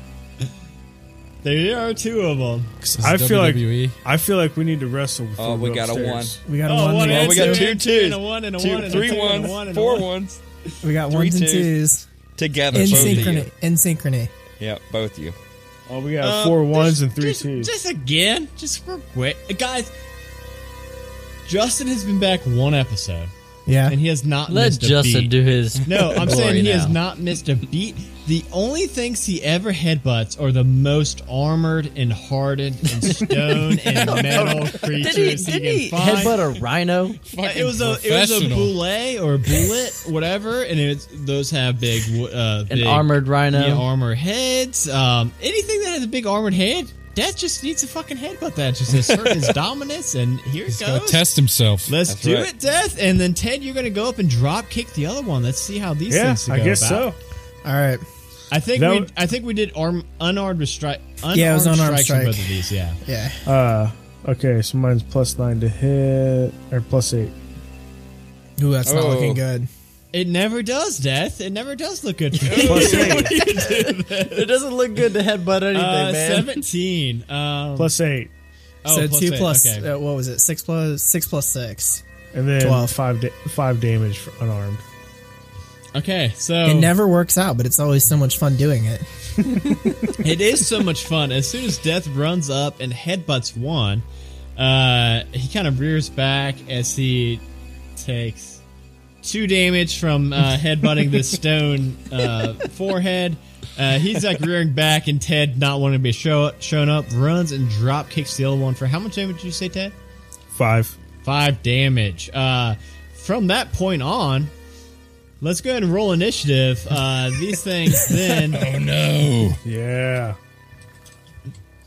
A: There are two of them.
F: This is E.
C: I feel like-
A: E.
F: WWE.
C: I feel like we need to wrestle. Before
B: Oh, we got a
C: upstairs.
D: We got a
A: Oh,
D: one.
A: one
D: and a
B: Oh,
A: and
B: we
D: two.
B: got
A: two
B: two
A: and two
B: twos,
A: and a one and a
B: two,
A: one and a
B: three
A: two and a
B: ones,
A: one and a
B: four
A: one.
B: ones
D: We got
B: Three
D: ones and
B: twos.
D: twos.
B: together.
D: In
B: both of you.
D: synchrony. In synchrony.
B: Yep, both of you.
C: Oh, we got
A: Um,
C: four ones and three
A: just,
C: twos.
A: Just again, just for quick, Uh, guys. Justin has been back one episode,
D: Yeah.
A: and he has not
G: Let
A: missed a
G: Justin
A: beat.
G: do his.
A: No, I'm
G: glory
A: saying he
G: now.
A: has not missed a beat. The only things he ever headbutts are the most armored and hardened and stone and metal
G: Did
A: creatures
G: he,
A: he
G: did
A: can
G: he
A: find.
G: headbutt a rhino?
A: Uh,
F: Fucking
A: it was a it was a
F: professional.
A: boulet or bullet, whatever, and it's those have big uh,
G: An
A: big,
G: armored rhino?
A: yeah, armor heads. Um, anything that has a big armored head, Death just needs to fucking headbutt that. Just assert his dominance, and here
F: He's
A: it
F: got to
A: goes.
F: test himself.
A: Let's
B: That's
A: do
B: right.
A: it, Death, and then Ted, you're gonna go up and drop kick the other one. Let's see how these
C: yeah,
A: things. go
C: I guess
A: about.
C: so.
D: All right.
A: I think
C: That
A: we
C: would-
A: I think we did arm unarmed strike.
D: Yeah, it was unarmed strike.
A: Both of these, yeah.
D: Yeah.
C: Uh, okay, so mine's plus nine to hit or plus eight.
D: Ooh, that's not
B: Oh.
D: looking good.
A: It never does, Death. It never does look good. For
C: Plus eight.
G: It doesn't look good to headbutt anything,
A: uh, Seventeen. Um,
C: plus eight,
A: Oh,
D: so
A: plus
D: two
A: eight,
D: plus-
A: okay.
D: uh, what was it? Six plus six plus six.
C: and then
D: Twelve.
C: five da- five damage for unarmed.
A: Okay, so
D: It never works out, but it's always so much fun doing it.
A: it is so much fun. As soon as Death runs up and headbutts one, uh, he kind of rears back as he takes two damage from uh, headbutting this stone uh, forehead. Uh, he's like rearing back, and Ted, not wanting to be show shown up, runs and drop kicks the other one for how much damage did you say, Ted?
C: Five.
A: Five damage. Uh, from that point on, let's go ahead and roll initiative. Uh, these things then.
F: oh no!
C: Yeah.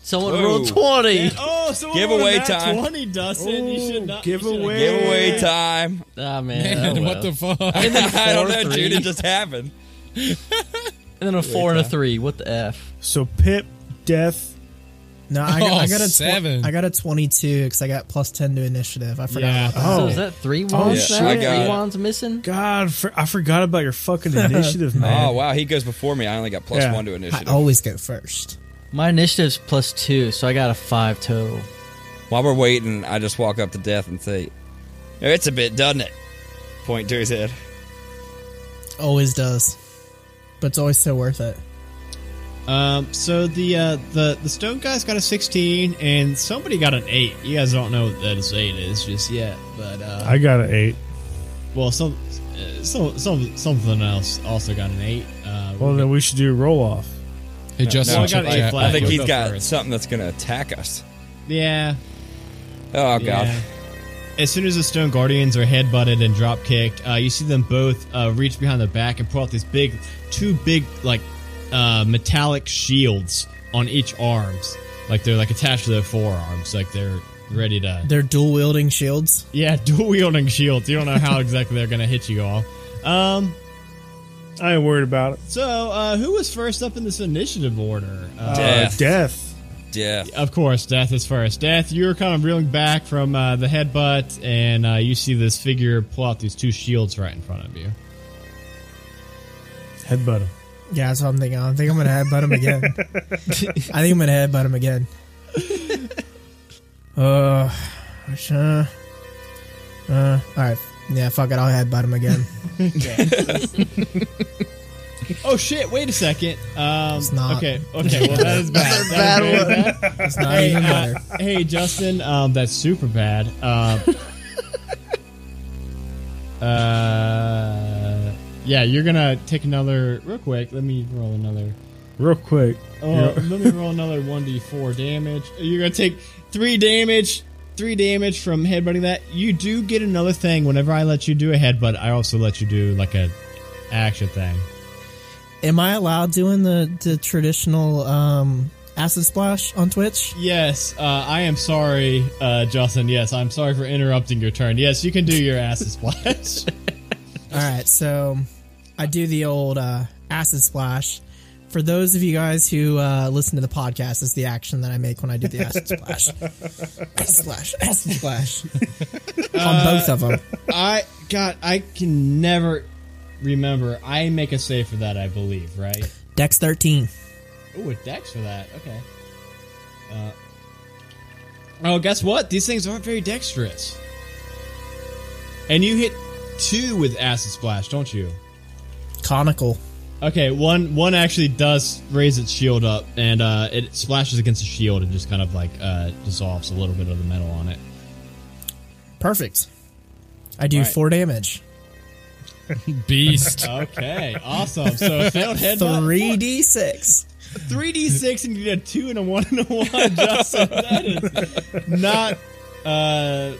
G: Someone
B: Whoa.
G: rolled 20.
A: Oh, so
B: Giveaway time.
A: Twenty, Dustin. you should not you should've
C: giveaway.
A: given-
B: Giveaway time.
G: Ah, man.
F: Man,
G: oh well.
F: what the fuck?
B: I don't know,
G: four,
B: dude.
G: three.
B: It just happened.
G: and then a four and a three. What the F?
C: So Pip, Death.
D: No, I got,
F: Oh,
D: I got a tw-
F: seven.
D: I got a twenty-two because I got plus ten to initiative. I forgot.
A: Yeah.
D: About that.
G: So
C: Oh,
G: is that three
C: Oh,
G: wands?
C: yeah,
G: now?
C: I
B: got
G: three
B: it.
G: wands missing?
C: God, for- I forgot about your fucking initiative, man.
B: Oh wow, he goes before me. I only got plus
C: Yeah.
B: one to initiative.
A: Oh,
D: I always go first.
G: My initiative's plus two, so I got a five total.
B: While we're waiting, I just walk up to Death and say, "It's a bit, doesn't it?" Point to his head.
D: Always does, but it's always so worth it.
A: Um, so the uh, the the stone guy's got a sixteen, and somebody got an eight. You guys don't know what that is eight is just yet, but uh,
C: I got an eight.
A: well, some, uh, some some something else also got an eight. Uh,
C: Well, then we should do a roll off.
F: Hey Justin,
A: I got
F: check
A: an eight
F: that.
A: flat.
B: I think
A: you'll
B: he's
A: go
B: got
A: first.
B: something that's gonna attack us.
A: yeah.
B: Oh god.
A: Yeah. As soon as the Stone Guardians are headbutted and drop kicked, uh, you see them both uh, reach behind their back and pull out these big, two big, like, uh, metallic shields on each arms. Like they're like attached to their forearms, like they're ready to.
D: They're dual wielding shields.
A: Yeah, dual wielding shields. You don't know how exactly they're gonna hit you all. Um.
C: I ain't worried about it.
A: So, uh, who was first up in this initiative order? Uh,
B: Death.
C: Uh, death.
B: Death.
A: Of course, Death is first. Death, you're kind of reeling back from uh, the headbutt, and uh, you see this figure pull out these two shields right in front of you.
C: Headbutt him.
D: Yeah, that's what I'm thinking. I think I'm gonna headbutt him again. I think I'm gonna headbutt him again. Uh, which, uh, uh, all right. Yeah, fuck it. I'll headbutt him again.
A: Oh shit! Wait a second. Um,
D: It's not.
A: Okay. Okay. Well, that is bad. That is very bad
D: It's not
A: Hey,
D: even
A: uh,
D: better.
A: hey, Justin. Um, that's super bad. Um, uh, yeah, you're gonna take another real quick. Let me roll another.
C: Real quick.
A: Oh, let me roll another 1d4 damage. You're going to take 3 damage. 3 damage from headbutting that. You do get another thing whenever I let you do a headbutt. I also let you do like a action thing.
D: Am I allowed doing the the traditional um acid splash on Twitch?
A: Yes, uh, I am sorry, uh, Justin. Yes, I'm sorry for interrupting your turn. Yes, you can do your acid splash.
D: All right, so I do the old uh, acid splash. For those of you guys who uh, listen to the podcast, it's the action that I make when I do the acid splash. acid splash, acid splash.
A: Uh,
D: On both of them.
A: I God, I can never remember. I make a save for that, I believe, right?
D: Dex 13.
A: Ooh, a dex for that. Okay. Uh, oh, guess what? These things aren't very dexterous. And you hit two with acid splash, don't you?
D: Conical.
A: Okay, one one actually does raise its shield up, and uh, it splashes against the shield and just kind of like uh, dissolves a little bit of the metal on it.
D: Perfect. I do
B: Right.
D: four damage.
F: Beast.
A: Okay, awesome. So failed head
D: Three d six.
A: three d six, and you did a two and a one and a one. Justin, that is not. Uh,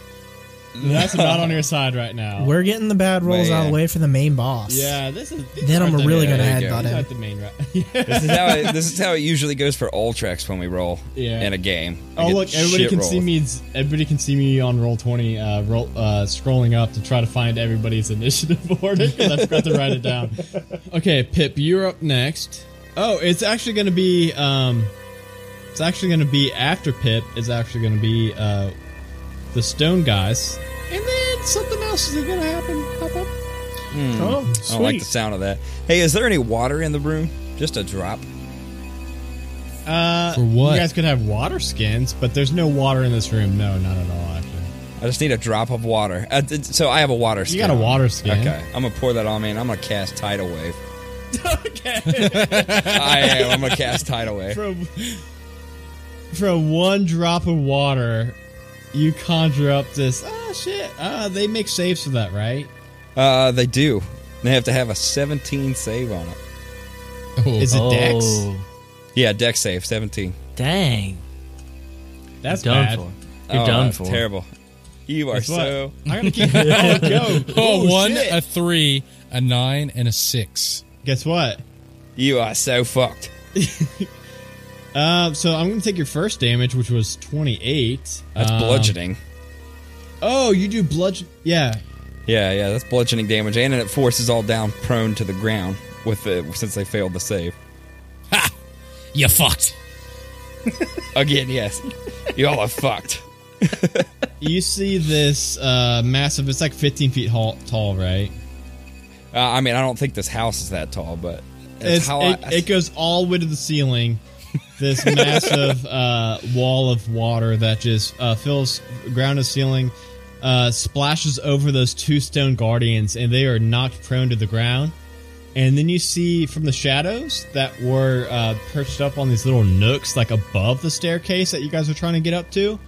A: that's not on your side right now.
D: We're getting the bad rolls out of the
B: Man.
D: way for the main boss.
A: yeah, this is. These
D: Then I'm
A: aren't the-
D: really gonna
B: there
D: headbutt
B: you go.
A: These
D: him.
A: aren't the main right. Yeah.
B: This is how it, this is how it usually goes for all tracks when we roll
A: Yeah.
B: in a game. We
A: Oh
B: get
A: look! Everybody
B: shit
A: can
B: rolled.
A: see me. Everybody can see me on roll twenty. Uh, roll, uh, scrolling up to try to find everybody's initiative order because I forgot to write it down. Okay, Pip, you're up next. Oh, it's actually going to be. Um, it's actually going to be after Pip. It's actually going to be uh, the Stone guys, and then something else is going to happen. Pop up.
C: Oh,
B: I don't like
C: sweet.
B: the sound of that. Hey, is there any water in the room? Just a drop.
A: Uh,
F: For what?
A: You guys could have water skins, but there's no water in this room. No, not at all. Actually,
B: I just need a drop of water. Uh, th- so I have a water skin.
A: got a water skin.
B: Okay. I'm going to pour that on me and I'm going to cast Tidal Wave. okay. I am. I'm going to cast Tidal Wave.
A: from from one drop of water, you conjure up this. Oh shit! Uh, they make saves for that, right?
B: Uh, they do. They have to have a 17 save on it.
A: Is it Dex?
G: Oh,
B: Yeah, deck save, 17.
E: Dang.
A: That's
E: Done
A: bad.
E: for. You're
B: Oh,
E: done
B: that's
E: for.
B: Terrible. You are
A: Guess what?
B: so.
A: I'm gonna keep oh, go.
F: Oh,
A: Oh,
F: one,
A: shit.
F: a three, a nine, and a six.
A: Guess what?
B: You are so fucked.
A: Uh, so I'm gonna take your first damage, which was 28.
B: That's
A: Um,
B: bludgeoning.
A: Oh, you do bludgeon. Yeah.
B: Yeah, yeah, that's bludgeoning damage, and it forces all down prone to the ground with the since they failed the save.
E: You fucked.
B: Again, yes, you all are fucked.
A: You see this uh, massive. It's like 15 feet tall, tall right?
B: Uh, I mean, I don't think this house is that tall, but it's,
A: It's-
B: how
A: it,
B: I,
A: it goes all the way to the ceiling. This massive uh, wall of water that just uh, fills ground to ceiling, uh, splashes over those two stone guardians, and they are knocked prone to the ground. And then you see from the shadows that were uh, perched up on these little nooks, like above the staircase that you guys were trying to get up to.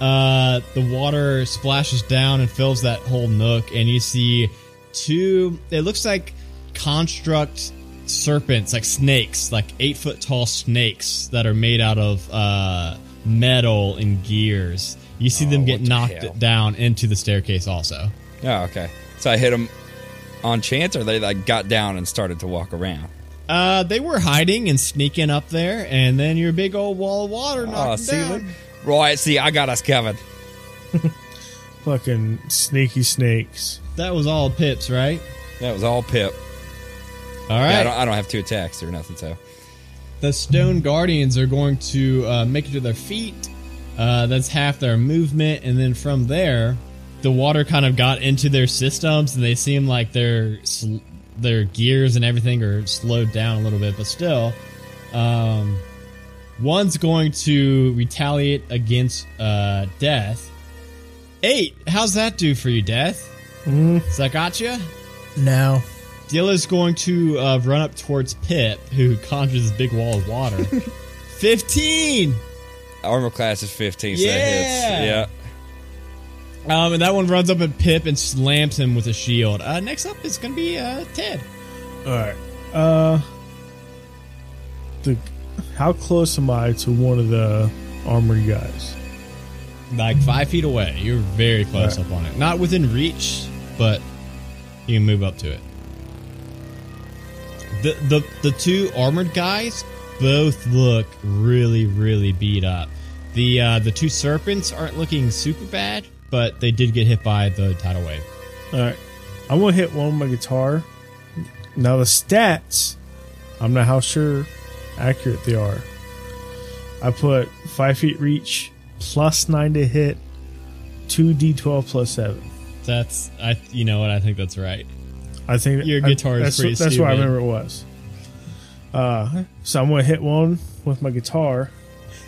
A: Uh, the water splashes down and fills that whole nook, and you see two. It looks like construct serpents, like snakes, like eight foot tall snakes that are made out of uh, metal and gears. You see them
B: Oh,
A: get
B: what the
A: knocked
B: hell.
A: down into the staircase, also.
B: oh, okay. So I hit them on chance, or they like got down and started to walk around.
A: Uh, they were hiding and sneaking up there, and then your big old wall of water knocked
B: Oh,
A: them
B: see, look.
A: down.
B: right? See, I got us covered.
C: Fucking snaky snakes.
A: That was all pips, right?
B: That was all Pip.
A: All right.
B: Yeah, I, don't, I don't have two attacks or nothing, so
A: The stone guardians are going to uh, make it to their feet. Uh, that's half their movement, and then from there, the water kind of got into their systems, and they seem like their sl- their gears and everything are slowed down a little bit, but still, um, one's going to retaliate against uh, Death. Eight, how's that do for you, Death? Does that got you?
D: No.
A: Dilla's going to uh, run up towards Pip, who conjures this big wall of water. 15!
B: armor class is fifteen. So that
A: Yeah.
B: hits. Yeah.
A: Um, and that one runs up at Pip and slams him with a shield. Uh, next up is going to be uh, Ted.
C: All right. Uh, the how close am I to one of the armored guys?
A: Like five feet away. You're very close up on it. Not within reach, but you can move up to it. The, the, the two armored guys both look really, really beat up. The, uh, the two serpents aren't looking super bad, but they did get hit by the tidal wave.
C: All right. I'm gonna hit one with my guitar. Now the stats, I'm not how sure accurate they are. I put five feet reach, plus nine to hit, two d12 plus seven.
A: That's I. You know what? I think that's right.
C: I think
A: Your
C: I-
A: guitar is
C: that's,
A: pretty
C: That's what I
A: stupid.
C: remember it was. Uh, so I'm gonna hit one with my guitar,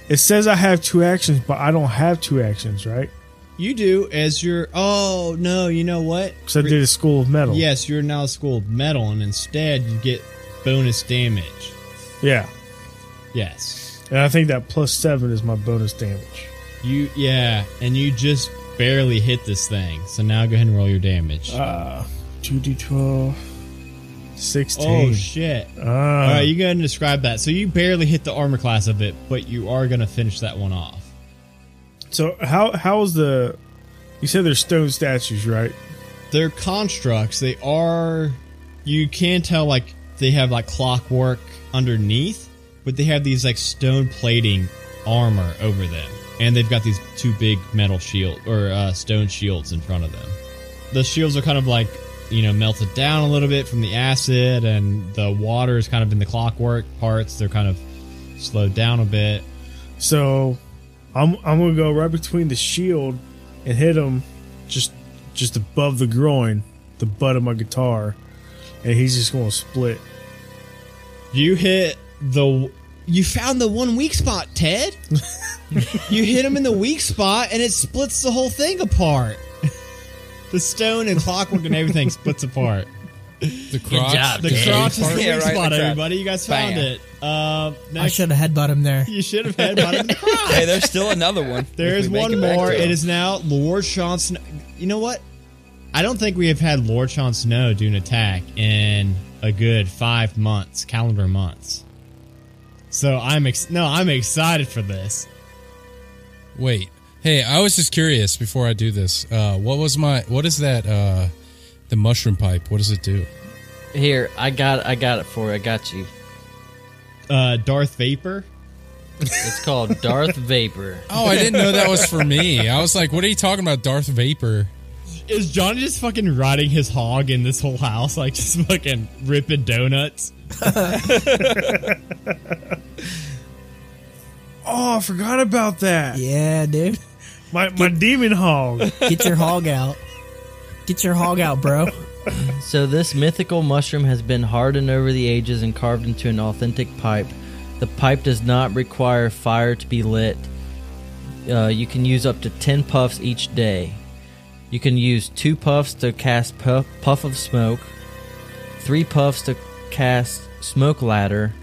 C: It says I have two actions, but I don't have two actions, right?
A: You do as your. Oh no! You know what?
C: Because I did a school of metal.
A: Yes, you're now school of metal, and instead you get bonus damage.
C: Yeah.
A: Yes,
C: And I think that plus seven is my bonus damage.
A: you. Yeah, and you just barely hit this thing. So now go ahead and roll your damage.
C: Uh, 2d12. 16.
A: oh shit!
C: Ah.
A: All right, you go ahead and describe that. So you barely hit the armor class of it, but you are going to finish that one off.
C: so how how's the. You said there's stone statues, right?
A: They're constructs. They are. You can tell like they have like clockwork underneath, but they have these like stone plating armor over them, and they've got these two big metal shield or uh, stone shields in front of them. The shields are kind of like you know melted down a little bit from the acid, and the water is kind of in the clockwork parts. They're kind of slowed down a bit.
C: So I'm I'm gonna go right between the shield and hit him just just above the groin, the butt of my guitar, and he's just gonna split.
A: You hit the. You found the one weak spot, Ted. you hit him in the weak spot, and it splits the whole thing apart. The stone and clockwork and everything splits apart.
F: The crotch.
E: job,
A: The
E: Okay.
A: crotch is the
B: Part-
A: weak
B: Yeah, right,
A: spot,
B: the crotch.
A: everybody. You guys found
B: Bam.
A: it. Uh,
D: I
A: next,
D: should have headbutt him there.
A: you should have had bottom the crotch.
B: Hey, there's still another one.
A: There
B: If
A: is
B: we make
A: one
B: back
A: more.
B: to
A: It is now Lord Sean Snow. You know what? I don't think we have had Lord Sean Snow do an attack in a good five months, calendar months. So I'm ex- no, I'm excited for this.
F: Wait. Hey, I was just curious before I do this. Uh, what was my? What is that? Uh, the mushroom pipe. What does it do?
G: Here, I got I got it for you. I got you.
A: Uh, Darth Vapor.
G: It's called Darth Vapor.
F: Oh, I didn't know that was for me. I was like, what are you talking about, Darth Vapor?
A: Is Johnny just fucking riding his hog in this whole house, like just fucking ripping donuts?
C: Oh, I forgot about that.
D: Yeah, dude.
C: My my demon hog.
D: Get your hog out. Get your hog out, bro.
G: So this mythical mushroom has been hardened over the ages and carved into an authentic pipe. The pipe does not require fire to be lit. Uh, you can use up to 10 puffs each day. You can use 2 puffs to cast puff, puff of smoke, 3 puffs to cast smoke ladder,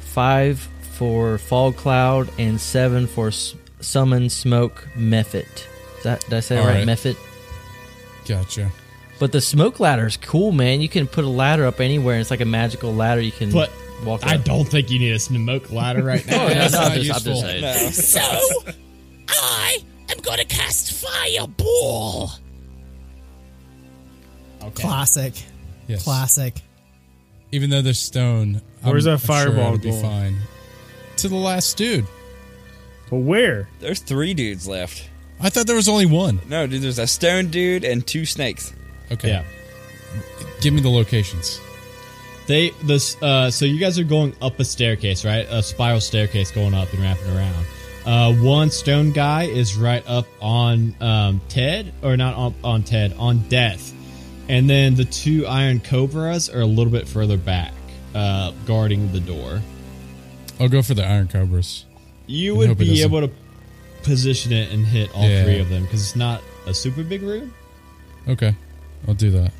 G: 5 for fog cloud, and 7 for s- summon smoke method. Is that, did I say it
F: All
G: right?
F: right.
G: Method?
F: Gotcha.
G: But the smoke ladder is cool, man. You can put a ladder up anywhere. and It's like a magical ladder. You can
A: But
G: walk.
A: I
G: up.
A: don't think you need a smoke ladder right
B: Oh,
A: now.
G: Yeah,
F: That's
G: no,
F: not
G: I'm just, I'm just
F: useful.
G: saying.
H: So, I am going to cast Fireball.
D: Classic.
F: Yes.
D: Classic.
F: Even though there's stone.
C: Where's that
F: I'm,
C: fireball
F: I'm sure it'll
C: going?
F: be fine. To the last dude.
C: But where?
B: it. There's three dudes left.
F: I thought there was only one.
B: No, dude, there's a stone dude and two snakes.
F: Okay.
A: yeah.
F: Give me the locations.
A: They this uh, so you guys are going up a staircase, right? A spiral staircase going up and wrapping around. Uh, one stone guy is right up on um, Ted, or not on, on Ted, on Death, and then the two iron cobras are a little bit further back, uh, guarding the door.
F: I'll go for the Iron Cobras.
A: You
F: I
A: would
F: hope it
A: be
F: doesn't-
A: able to position it and hit all
F: Yeah.
A: three of them because it's not a super big room.
F: Okay. I'll do that.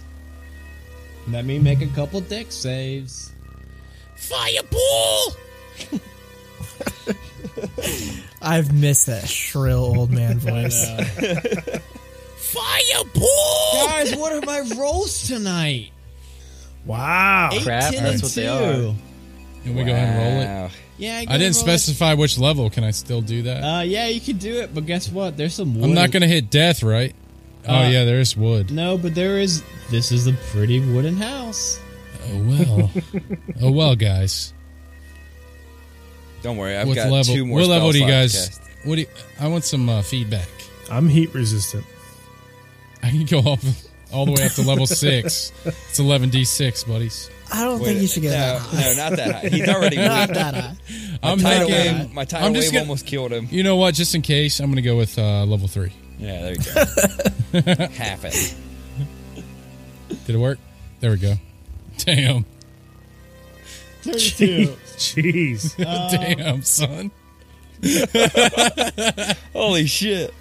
A: Let me make a couple deck saves.
H: Fireball!
D: I've missed that shrill old man voice.
H: Fireball!
A: Guys, what are my rolls tonight?
C: Wow.
A: Eight,
G: Crap,
A: 10,
G: that's
A: and
G: what they
A: two.
G: are.
F: And we go ahead and roll it.
B: Wow.
A: Yeah,
F: I didn't
A: roll it.
F: specify which level. Can I still do that?
A: Uh, yeah, you could do it, but guess what? There's some. Wood
F: I'm not going to hit death, right?
A: Uh,
F: oh, yeah, there is wood.
A: No, but there is. This is a pretty wooden house.
F: Oh, well. oh, well, guys.
B: Don't worry, I've
F: what
B: got
F: level?
B: two more
F: what
B: spell
F: level do you
B: slots
F: guys?
B: to cast.
F: What do you, I want some uh, feedback.
C: I'm heat resistant.
F: I can go off all the way up to level six. It's eleven d six, buddies.
D: I don't
B: Wait,
D: think you should get that
B: no,
D: high.
B: no, not that high. He's already
D: Not
B: weak.
D: that high.
F: I'm
B: Tidal
F: thinking.
B: wave, my tidal
F: I'm just
B: wave
F: gonna-
B: almost killed him.
F: You know what? Just in case, I'm going to go with uh, level three.
B: Yeah, there you go. Half it.
F: Did it work? There we go. Damn.
C: Jeez.
A: Oh.
F: Damn, son.
B: Holy shit.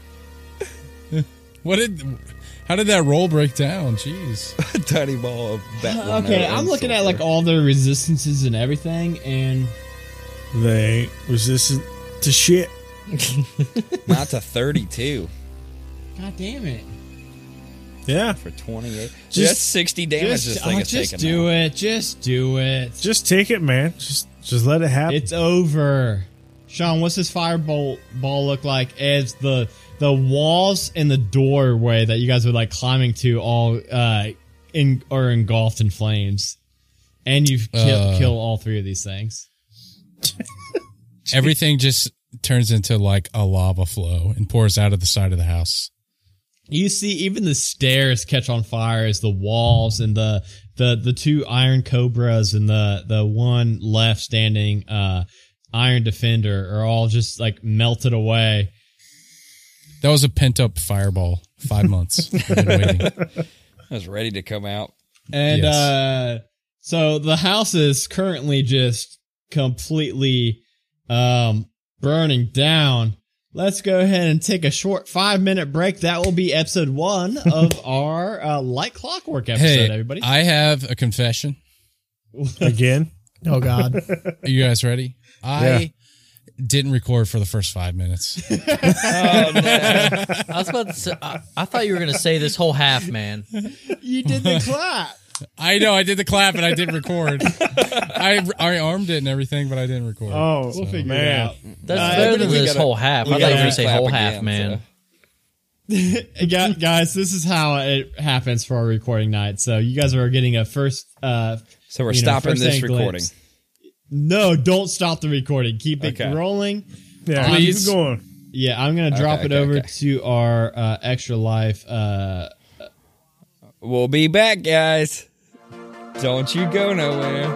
F: What did? How did that roll break down? Jeez.
B: A tiny ball of
D: Uh,
B: bat.
A: Okay, I'm looking at like all the resistances and everything, and
C: They ain't resistant to shit.
B: Not to 32
A: god damn it.
C: Yeah.
B: for 28. Just,
C: Just-
B: That's 60 damage this
A: Just,
B: thing
A: oh,
B: is
A: just
B: taking.
A: do
B: now.
A: it. Just do it.
C: Just take it, man. Just just let it happen.
A: It's over. Sean, what's this firebolt ball look like as the the walls and the doorway that you guys were like climbing to all uh in are engulfed in flames. And you kill,
F: Uh.
A: kill all three of these things.
F: Everything just turns into like a lava flow and pours out of the side of the house.
A: You see even the stairs catch on fire as the walls and the the the two iron cobras and the the one left standing uh iron defender are all just like melted away.
F: That was a pent up fireball. Five months. We've been waiting.
B: I was ready to come out.
A: And
F: Yes.
A: uh so the house is currently just completely um burning down. Let's go ahead and take a short five minute break. That will be episode one of our uh, light clockwork episode,
F: Hey,
A: everybody.
F: I have a confession.
C: Again.
D: Oh God.
F: Are you guys ready? I didn't record for the first five minutes.
B: Um,
G: I was about to say, I, I thought you were going to say this whole half, man.
A: you did the clap.
F: I know I did the clap and I didn't record. I I armed it and everything, but I didn't record.
C: Oh,
A: We'll figure
C: man.
A: it out.
G: That's
B: Uh,
G: better
B: we
G: than this
B: gotta-
G: whole half. I
B: we
G: thought you were
B: gotta
G: going to say
B: clap
G: whole
B: again,
G: half, man.
A: Gu- guys, this is how it happens for our recording night. So you guys are getting a first. Uh,
B: So we're
A: you know,
B: stopping
A: first
B: this
A: hand
B: recording.
A: glimpse. No, don't stop the recording. Keep it
B: Okay.
A: rolling.
C: Yeah,
A: Please.
C: keep going.
A: Yeah, I'm gonna drop
B: Okay,
A: it
B: okay,
A: over
B: okay.
A: to our uh, extra life. Uh,
B: We'll be back, guys. Don't you go nowhere.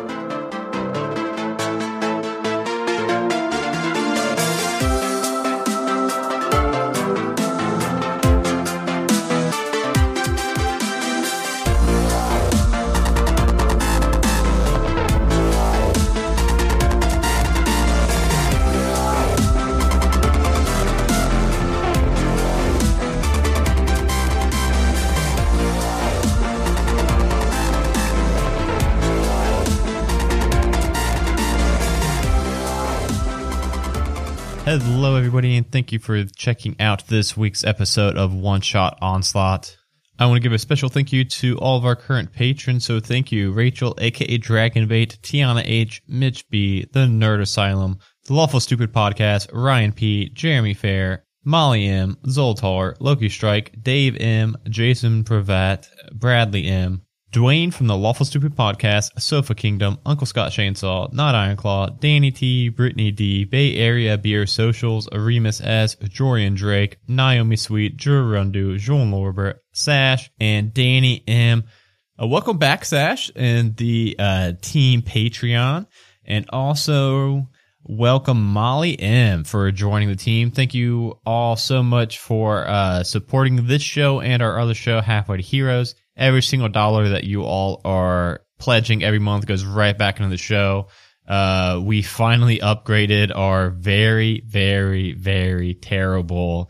A: Hello, everybody, and thank you for checking out this week's episode of One Shot Onslaught. I want to give a special thank you to all of our current patrons. So, thank you, Rachel, aka Dragonbait, Tiana H, Mitch B, The Nerd Asylum, The Lawful Stupid Podcast, Ryan P, Jeremy Fair, Molly M, Zoltar, Loki Strike, Dave M, Jason Pravat, Bradley M, Dwayne from the Lawful Stupid Podcast, Sofa Kingdom, Uncle Scott Chainsaw, Not Ironclaw, Danny T, Brittany D, Bay Area Beer Socials, Remus S, Jorian Drake, Naomi Sweet, Drew Rundu, Jean Lorbert, Sash, and Danny M. Uh, welcome back, Sash, and the uh, team Patreon, and also welcome Molly M for joining the team. Thank you all so much for uh, supporting this show and our other show, Halfway to Heroes. Every single dollar that you all are pledging every month goes right back into the show. Uh, we finally upgraded our very, very, very terrible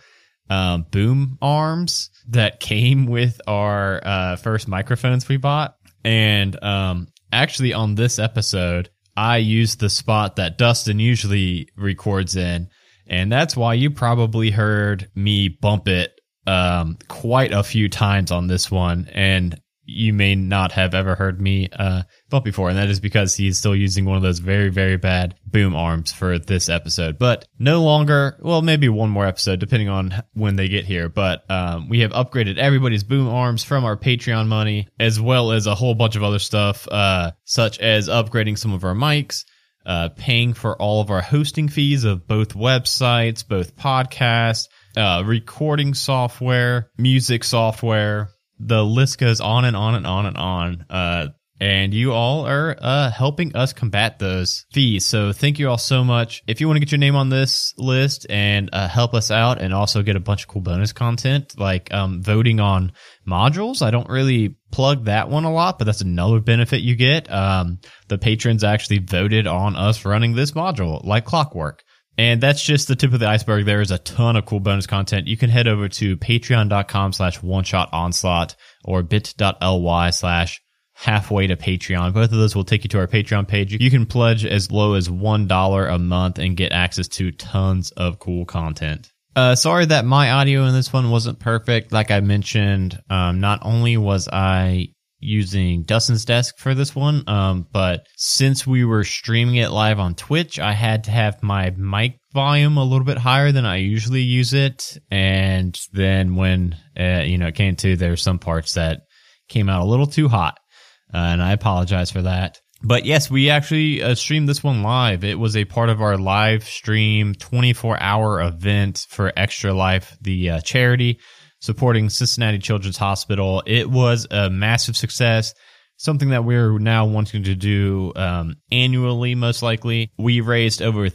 A: um, boom arms that came with our uh, first microphones we bought. And um, actually, on this episode, I used the spot that Dustin usually records in. And that's why you probably heard me bump it um, quite a few times on this one. And you may not have ever heard me uh, bump before, and that is because he's still using one of those very, very bad boom arms for this episode. But no longer, well, maybe one more episode, depending on when they get here. But um, we have upgraded everybody's boom arms from our Patreon money, as well as a whole bunch of other stuff, uh, such as upgrading some of our mics uh, paying for all of our hosting fees of both websites, both podcasts, uh, recording software, music software. The list goes on and on and on and on. Uh, and you all are uh, helping us combat those fees. So thank you all so much. If you want to get your name on this list and uh, help us out and also get a bunch of cool bonus content like um, voting on modules, I don't really plug that one a lot, but that's another benefit you get. Um, the patrons actually voted on us running this module like clockwork. And that's just the tip of the iceberg. There is a ton of cool bonus content. You can head over to patreon.com slash one shot onslaught or bit.ly slash halfway to Patreon. Both of those will take you to our Patreon page. You can pledge as low as $1 a month and get access to tons of cool content. Uh, sorry that my audio in this one wasn't perfect. Like I mentioned, um, not only was I using Dustin's desk for this one, um, but since we were streaming it live on Twitch, I had to have my mic volume a little bit higher than I usually use it. And then when uh, you know it came to, there were some parts that came out a little too hot, uh, and I apologize for that. But yes, we actually uh, streamed this one live. It was a part of our live stream 24 hour event for Extra Life, the uh, charity supporting Cincinnati Children's Hospital. It was a massive success, something that we're now wanting to do um, annually, most likely. We raised over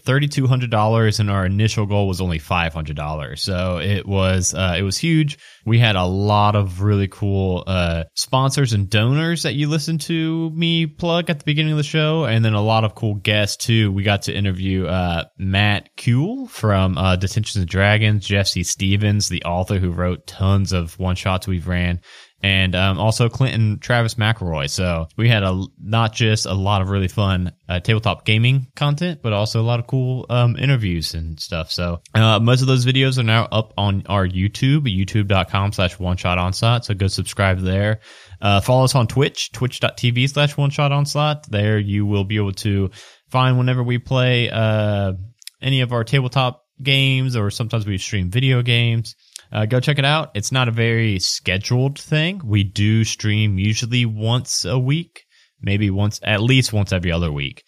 A: $3,200 and our initial goal was only $500. So it was, uh, it was huge. We had a lot of really cool uh, sponsors and donors that you listened to me plug at the beginning of the show, and then a lot of cool guests too. We got to interview uh, Matt Kuhl from uh, Detentions and Dragons, Jeff C. Stevens, the author who wrote tons of one shots we've ran, and um, also Clinton Travis McElroy. So we had a not just a lot of really fun uh, tabletop gaming content, but also a lot of cool um, interviews and stuff. So uh, most of those videos are now up on our YouTube, youtube.com slash one shot onslaught. So go subscribe there. Uh, follow us on Twitch, twitch.tv slash one shot onslaught. There you will be able to find whenever we play uh, any of our tabletop games or sometimes we stream video games. Uh, go check it out. It's not a very scheduled thing. We do stream usually once a week, maybe once, at least once every other week.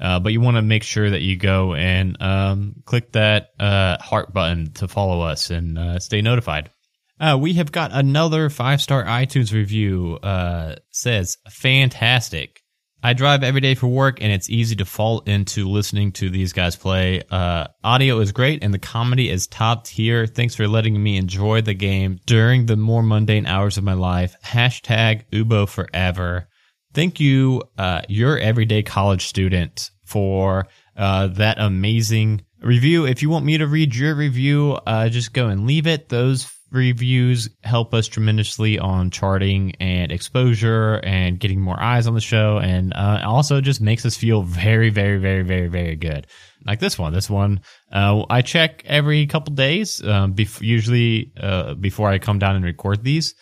A: Uh, but you want to make sure that you go and um, click that uh, heart button to follow us and uh, stay notified. Uh, we have got another five star iTunes review. Uh, says fantastic. I drive every day for work, and it's easy to fall into listening to these guys play. Uh, audio is great, and the comedy is top tier. Thanks for letting me enjoy the game during the more mundane hours of my life. Hashtag Ubo forever. Thank you, uh, your everyday college student, for uh, that amazing review. If you want me to read your review, uh, just go and leave it. Those reviews help us tremendously on charting and exposure and getting more eyes on the show and uh, also just makes us feel very very very very very good like this one this one uh, i check every couple days um, bef usually uh, before i come down and record these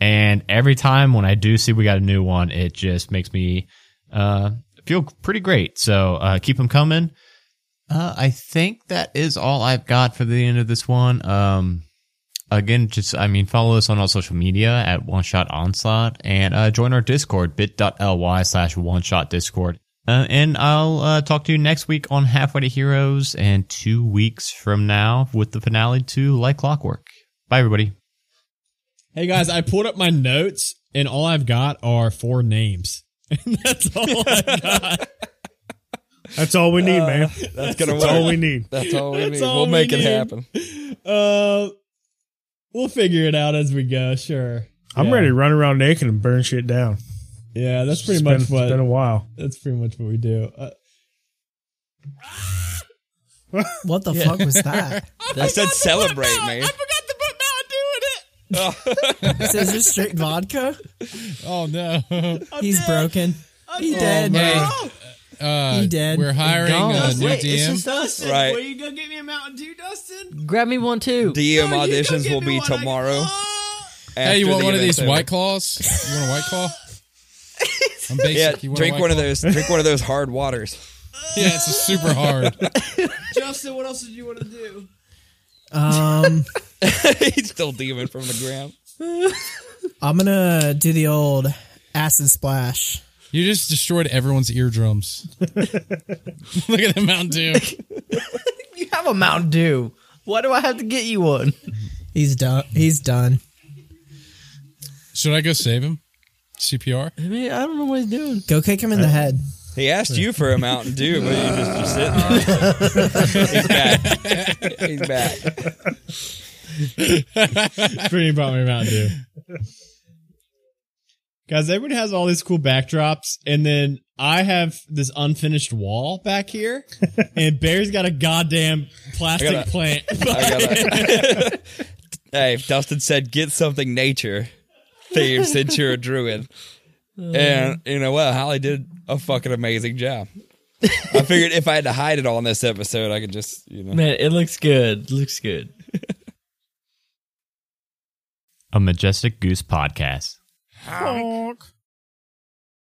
A: and every time when i do see we got a new one it just makes me uh, feel pretty great so uh, keep them coming uh, i think that is all i've got for the end of this one um, again just i mean follow us on all social media at one shot onslaught and uh, join our discord bit.ly slash one shot discord uh, and i'll uh, talk to you next week on halfway to heroes and two weeks from now with the finale to like clockwork bye everybody
I: Hey guys, I pulled up my notes and all I've got are four names. And that's all I've got.
C: That's all we
A: Uh,
C: need, man.
B: That's gonna
C: That's
B: work.
C: all we need.
B: That's all we
I: That's
B: need.
I: all
B: we'll
I: we
B: make it
I: need.
B: happen.
I: Uh, we'll figure it out as we go, sure.
C: I'm
I: Yeah.
C: ready to run around naked and burn shit down.
I: Yeah, that's pretty
C: It's
I: much
C: been-
I: what
C: It's been a while.
I: that's pretty much what we do. Uh,
D: What the fuck was that?
B: I said celebrate, man.
D: so is this straight vodka?
F: Oh no.
D: He's broken. He dead.
F: Hey, uh,
D: He dead.
F: We're hiring a
G: Gone.
F: new
G: Wait,
F: DM.
I: Dustin,
B: Right.
I: will you go get me a Mountain Dew, Dustin?
G: Grab me one too.
B: DM
I: No, you go
B: E auditions
I: get
B: will
I: me
B: be
I: one. I can-
B: tomorrow.
I: Oh!
B: after
F: hey, you want
B: the
F: one of
B: event's
F: these
B: over.
F: white claws? You want a white claw? I'm basic.
B: Yeah,
F: you want a
B: drink
F: White
B: one of
F: Claw?
B: those. Drink one of those hard waters.
F: Yeah, it's a super hard.
I: Justin, what else did you want to do?
D: Um,
B: He's still DMing from the ground.
D: I'm gonna do the old acid splash.
F: You just destroyed everyone's eardrums. Look at the Mountain Dew.
G: You have a Mountain Dew. Why do I have to get you one?
D: He's done. He's done.
F: Should I go save him? CPR.
G: I mean, I don't know what he's doing.
D: Go kick him in the head.
B: He asked you for a Mountain Dew, but you just just sitting there. He's back. He's back.
I: Brittany brought me a Mountain Dew. Guys, everyone has all these cool backdrops, and then
A: I have this unfinished wall back here, and Barry's got a goddamn plastic
B: I got a-
A: plant.
B: I gotta- hey, if Dustin said, get something nature themed since you're a druid. And you know what? Holly did a fucking amazing job. I figured if I had to hide it all in this episode, I could just, you know.
E: Man, it looks good. Looks good.
J: A Majestic Goose podcast.
C: Honk.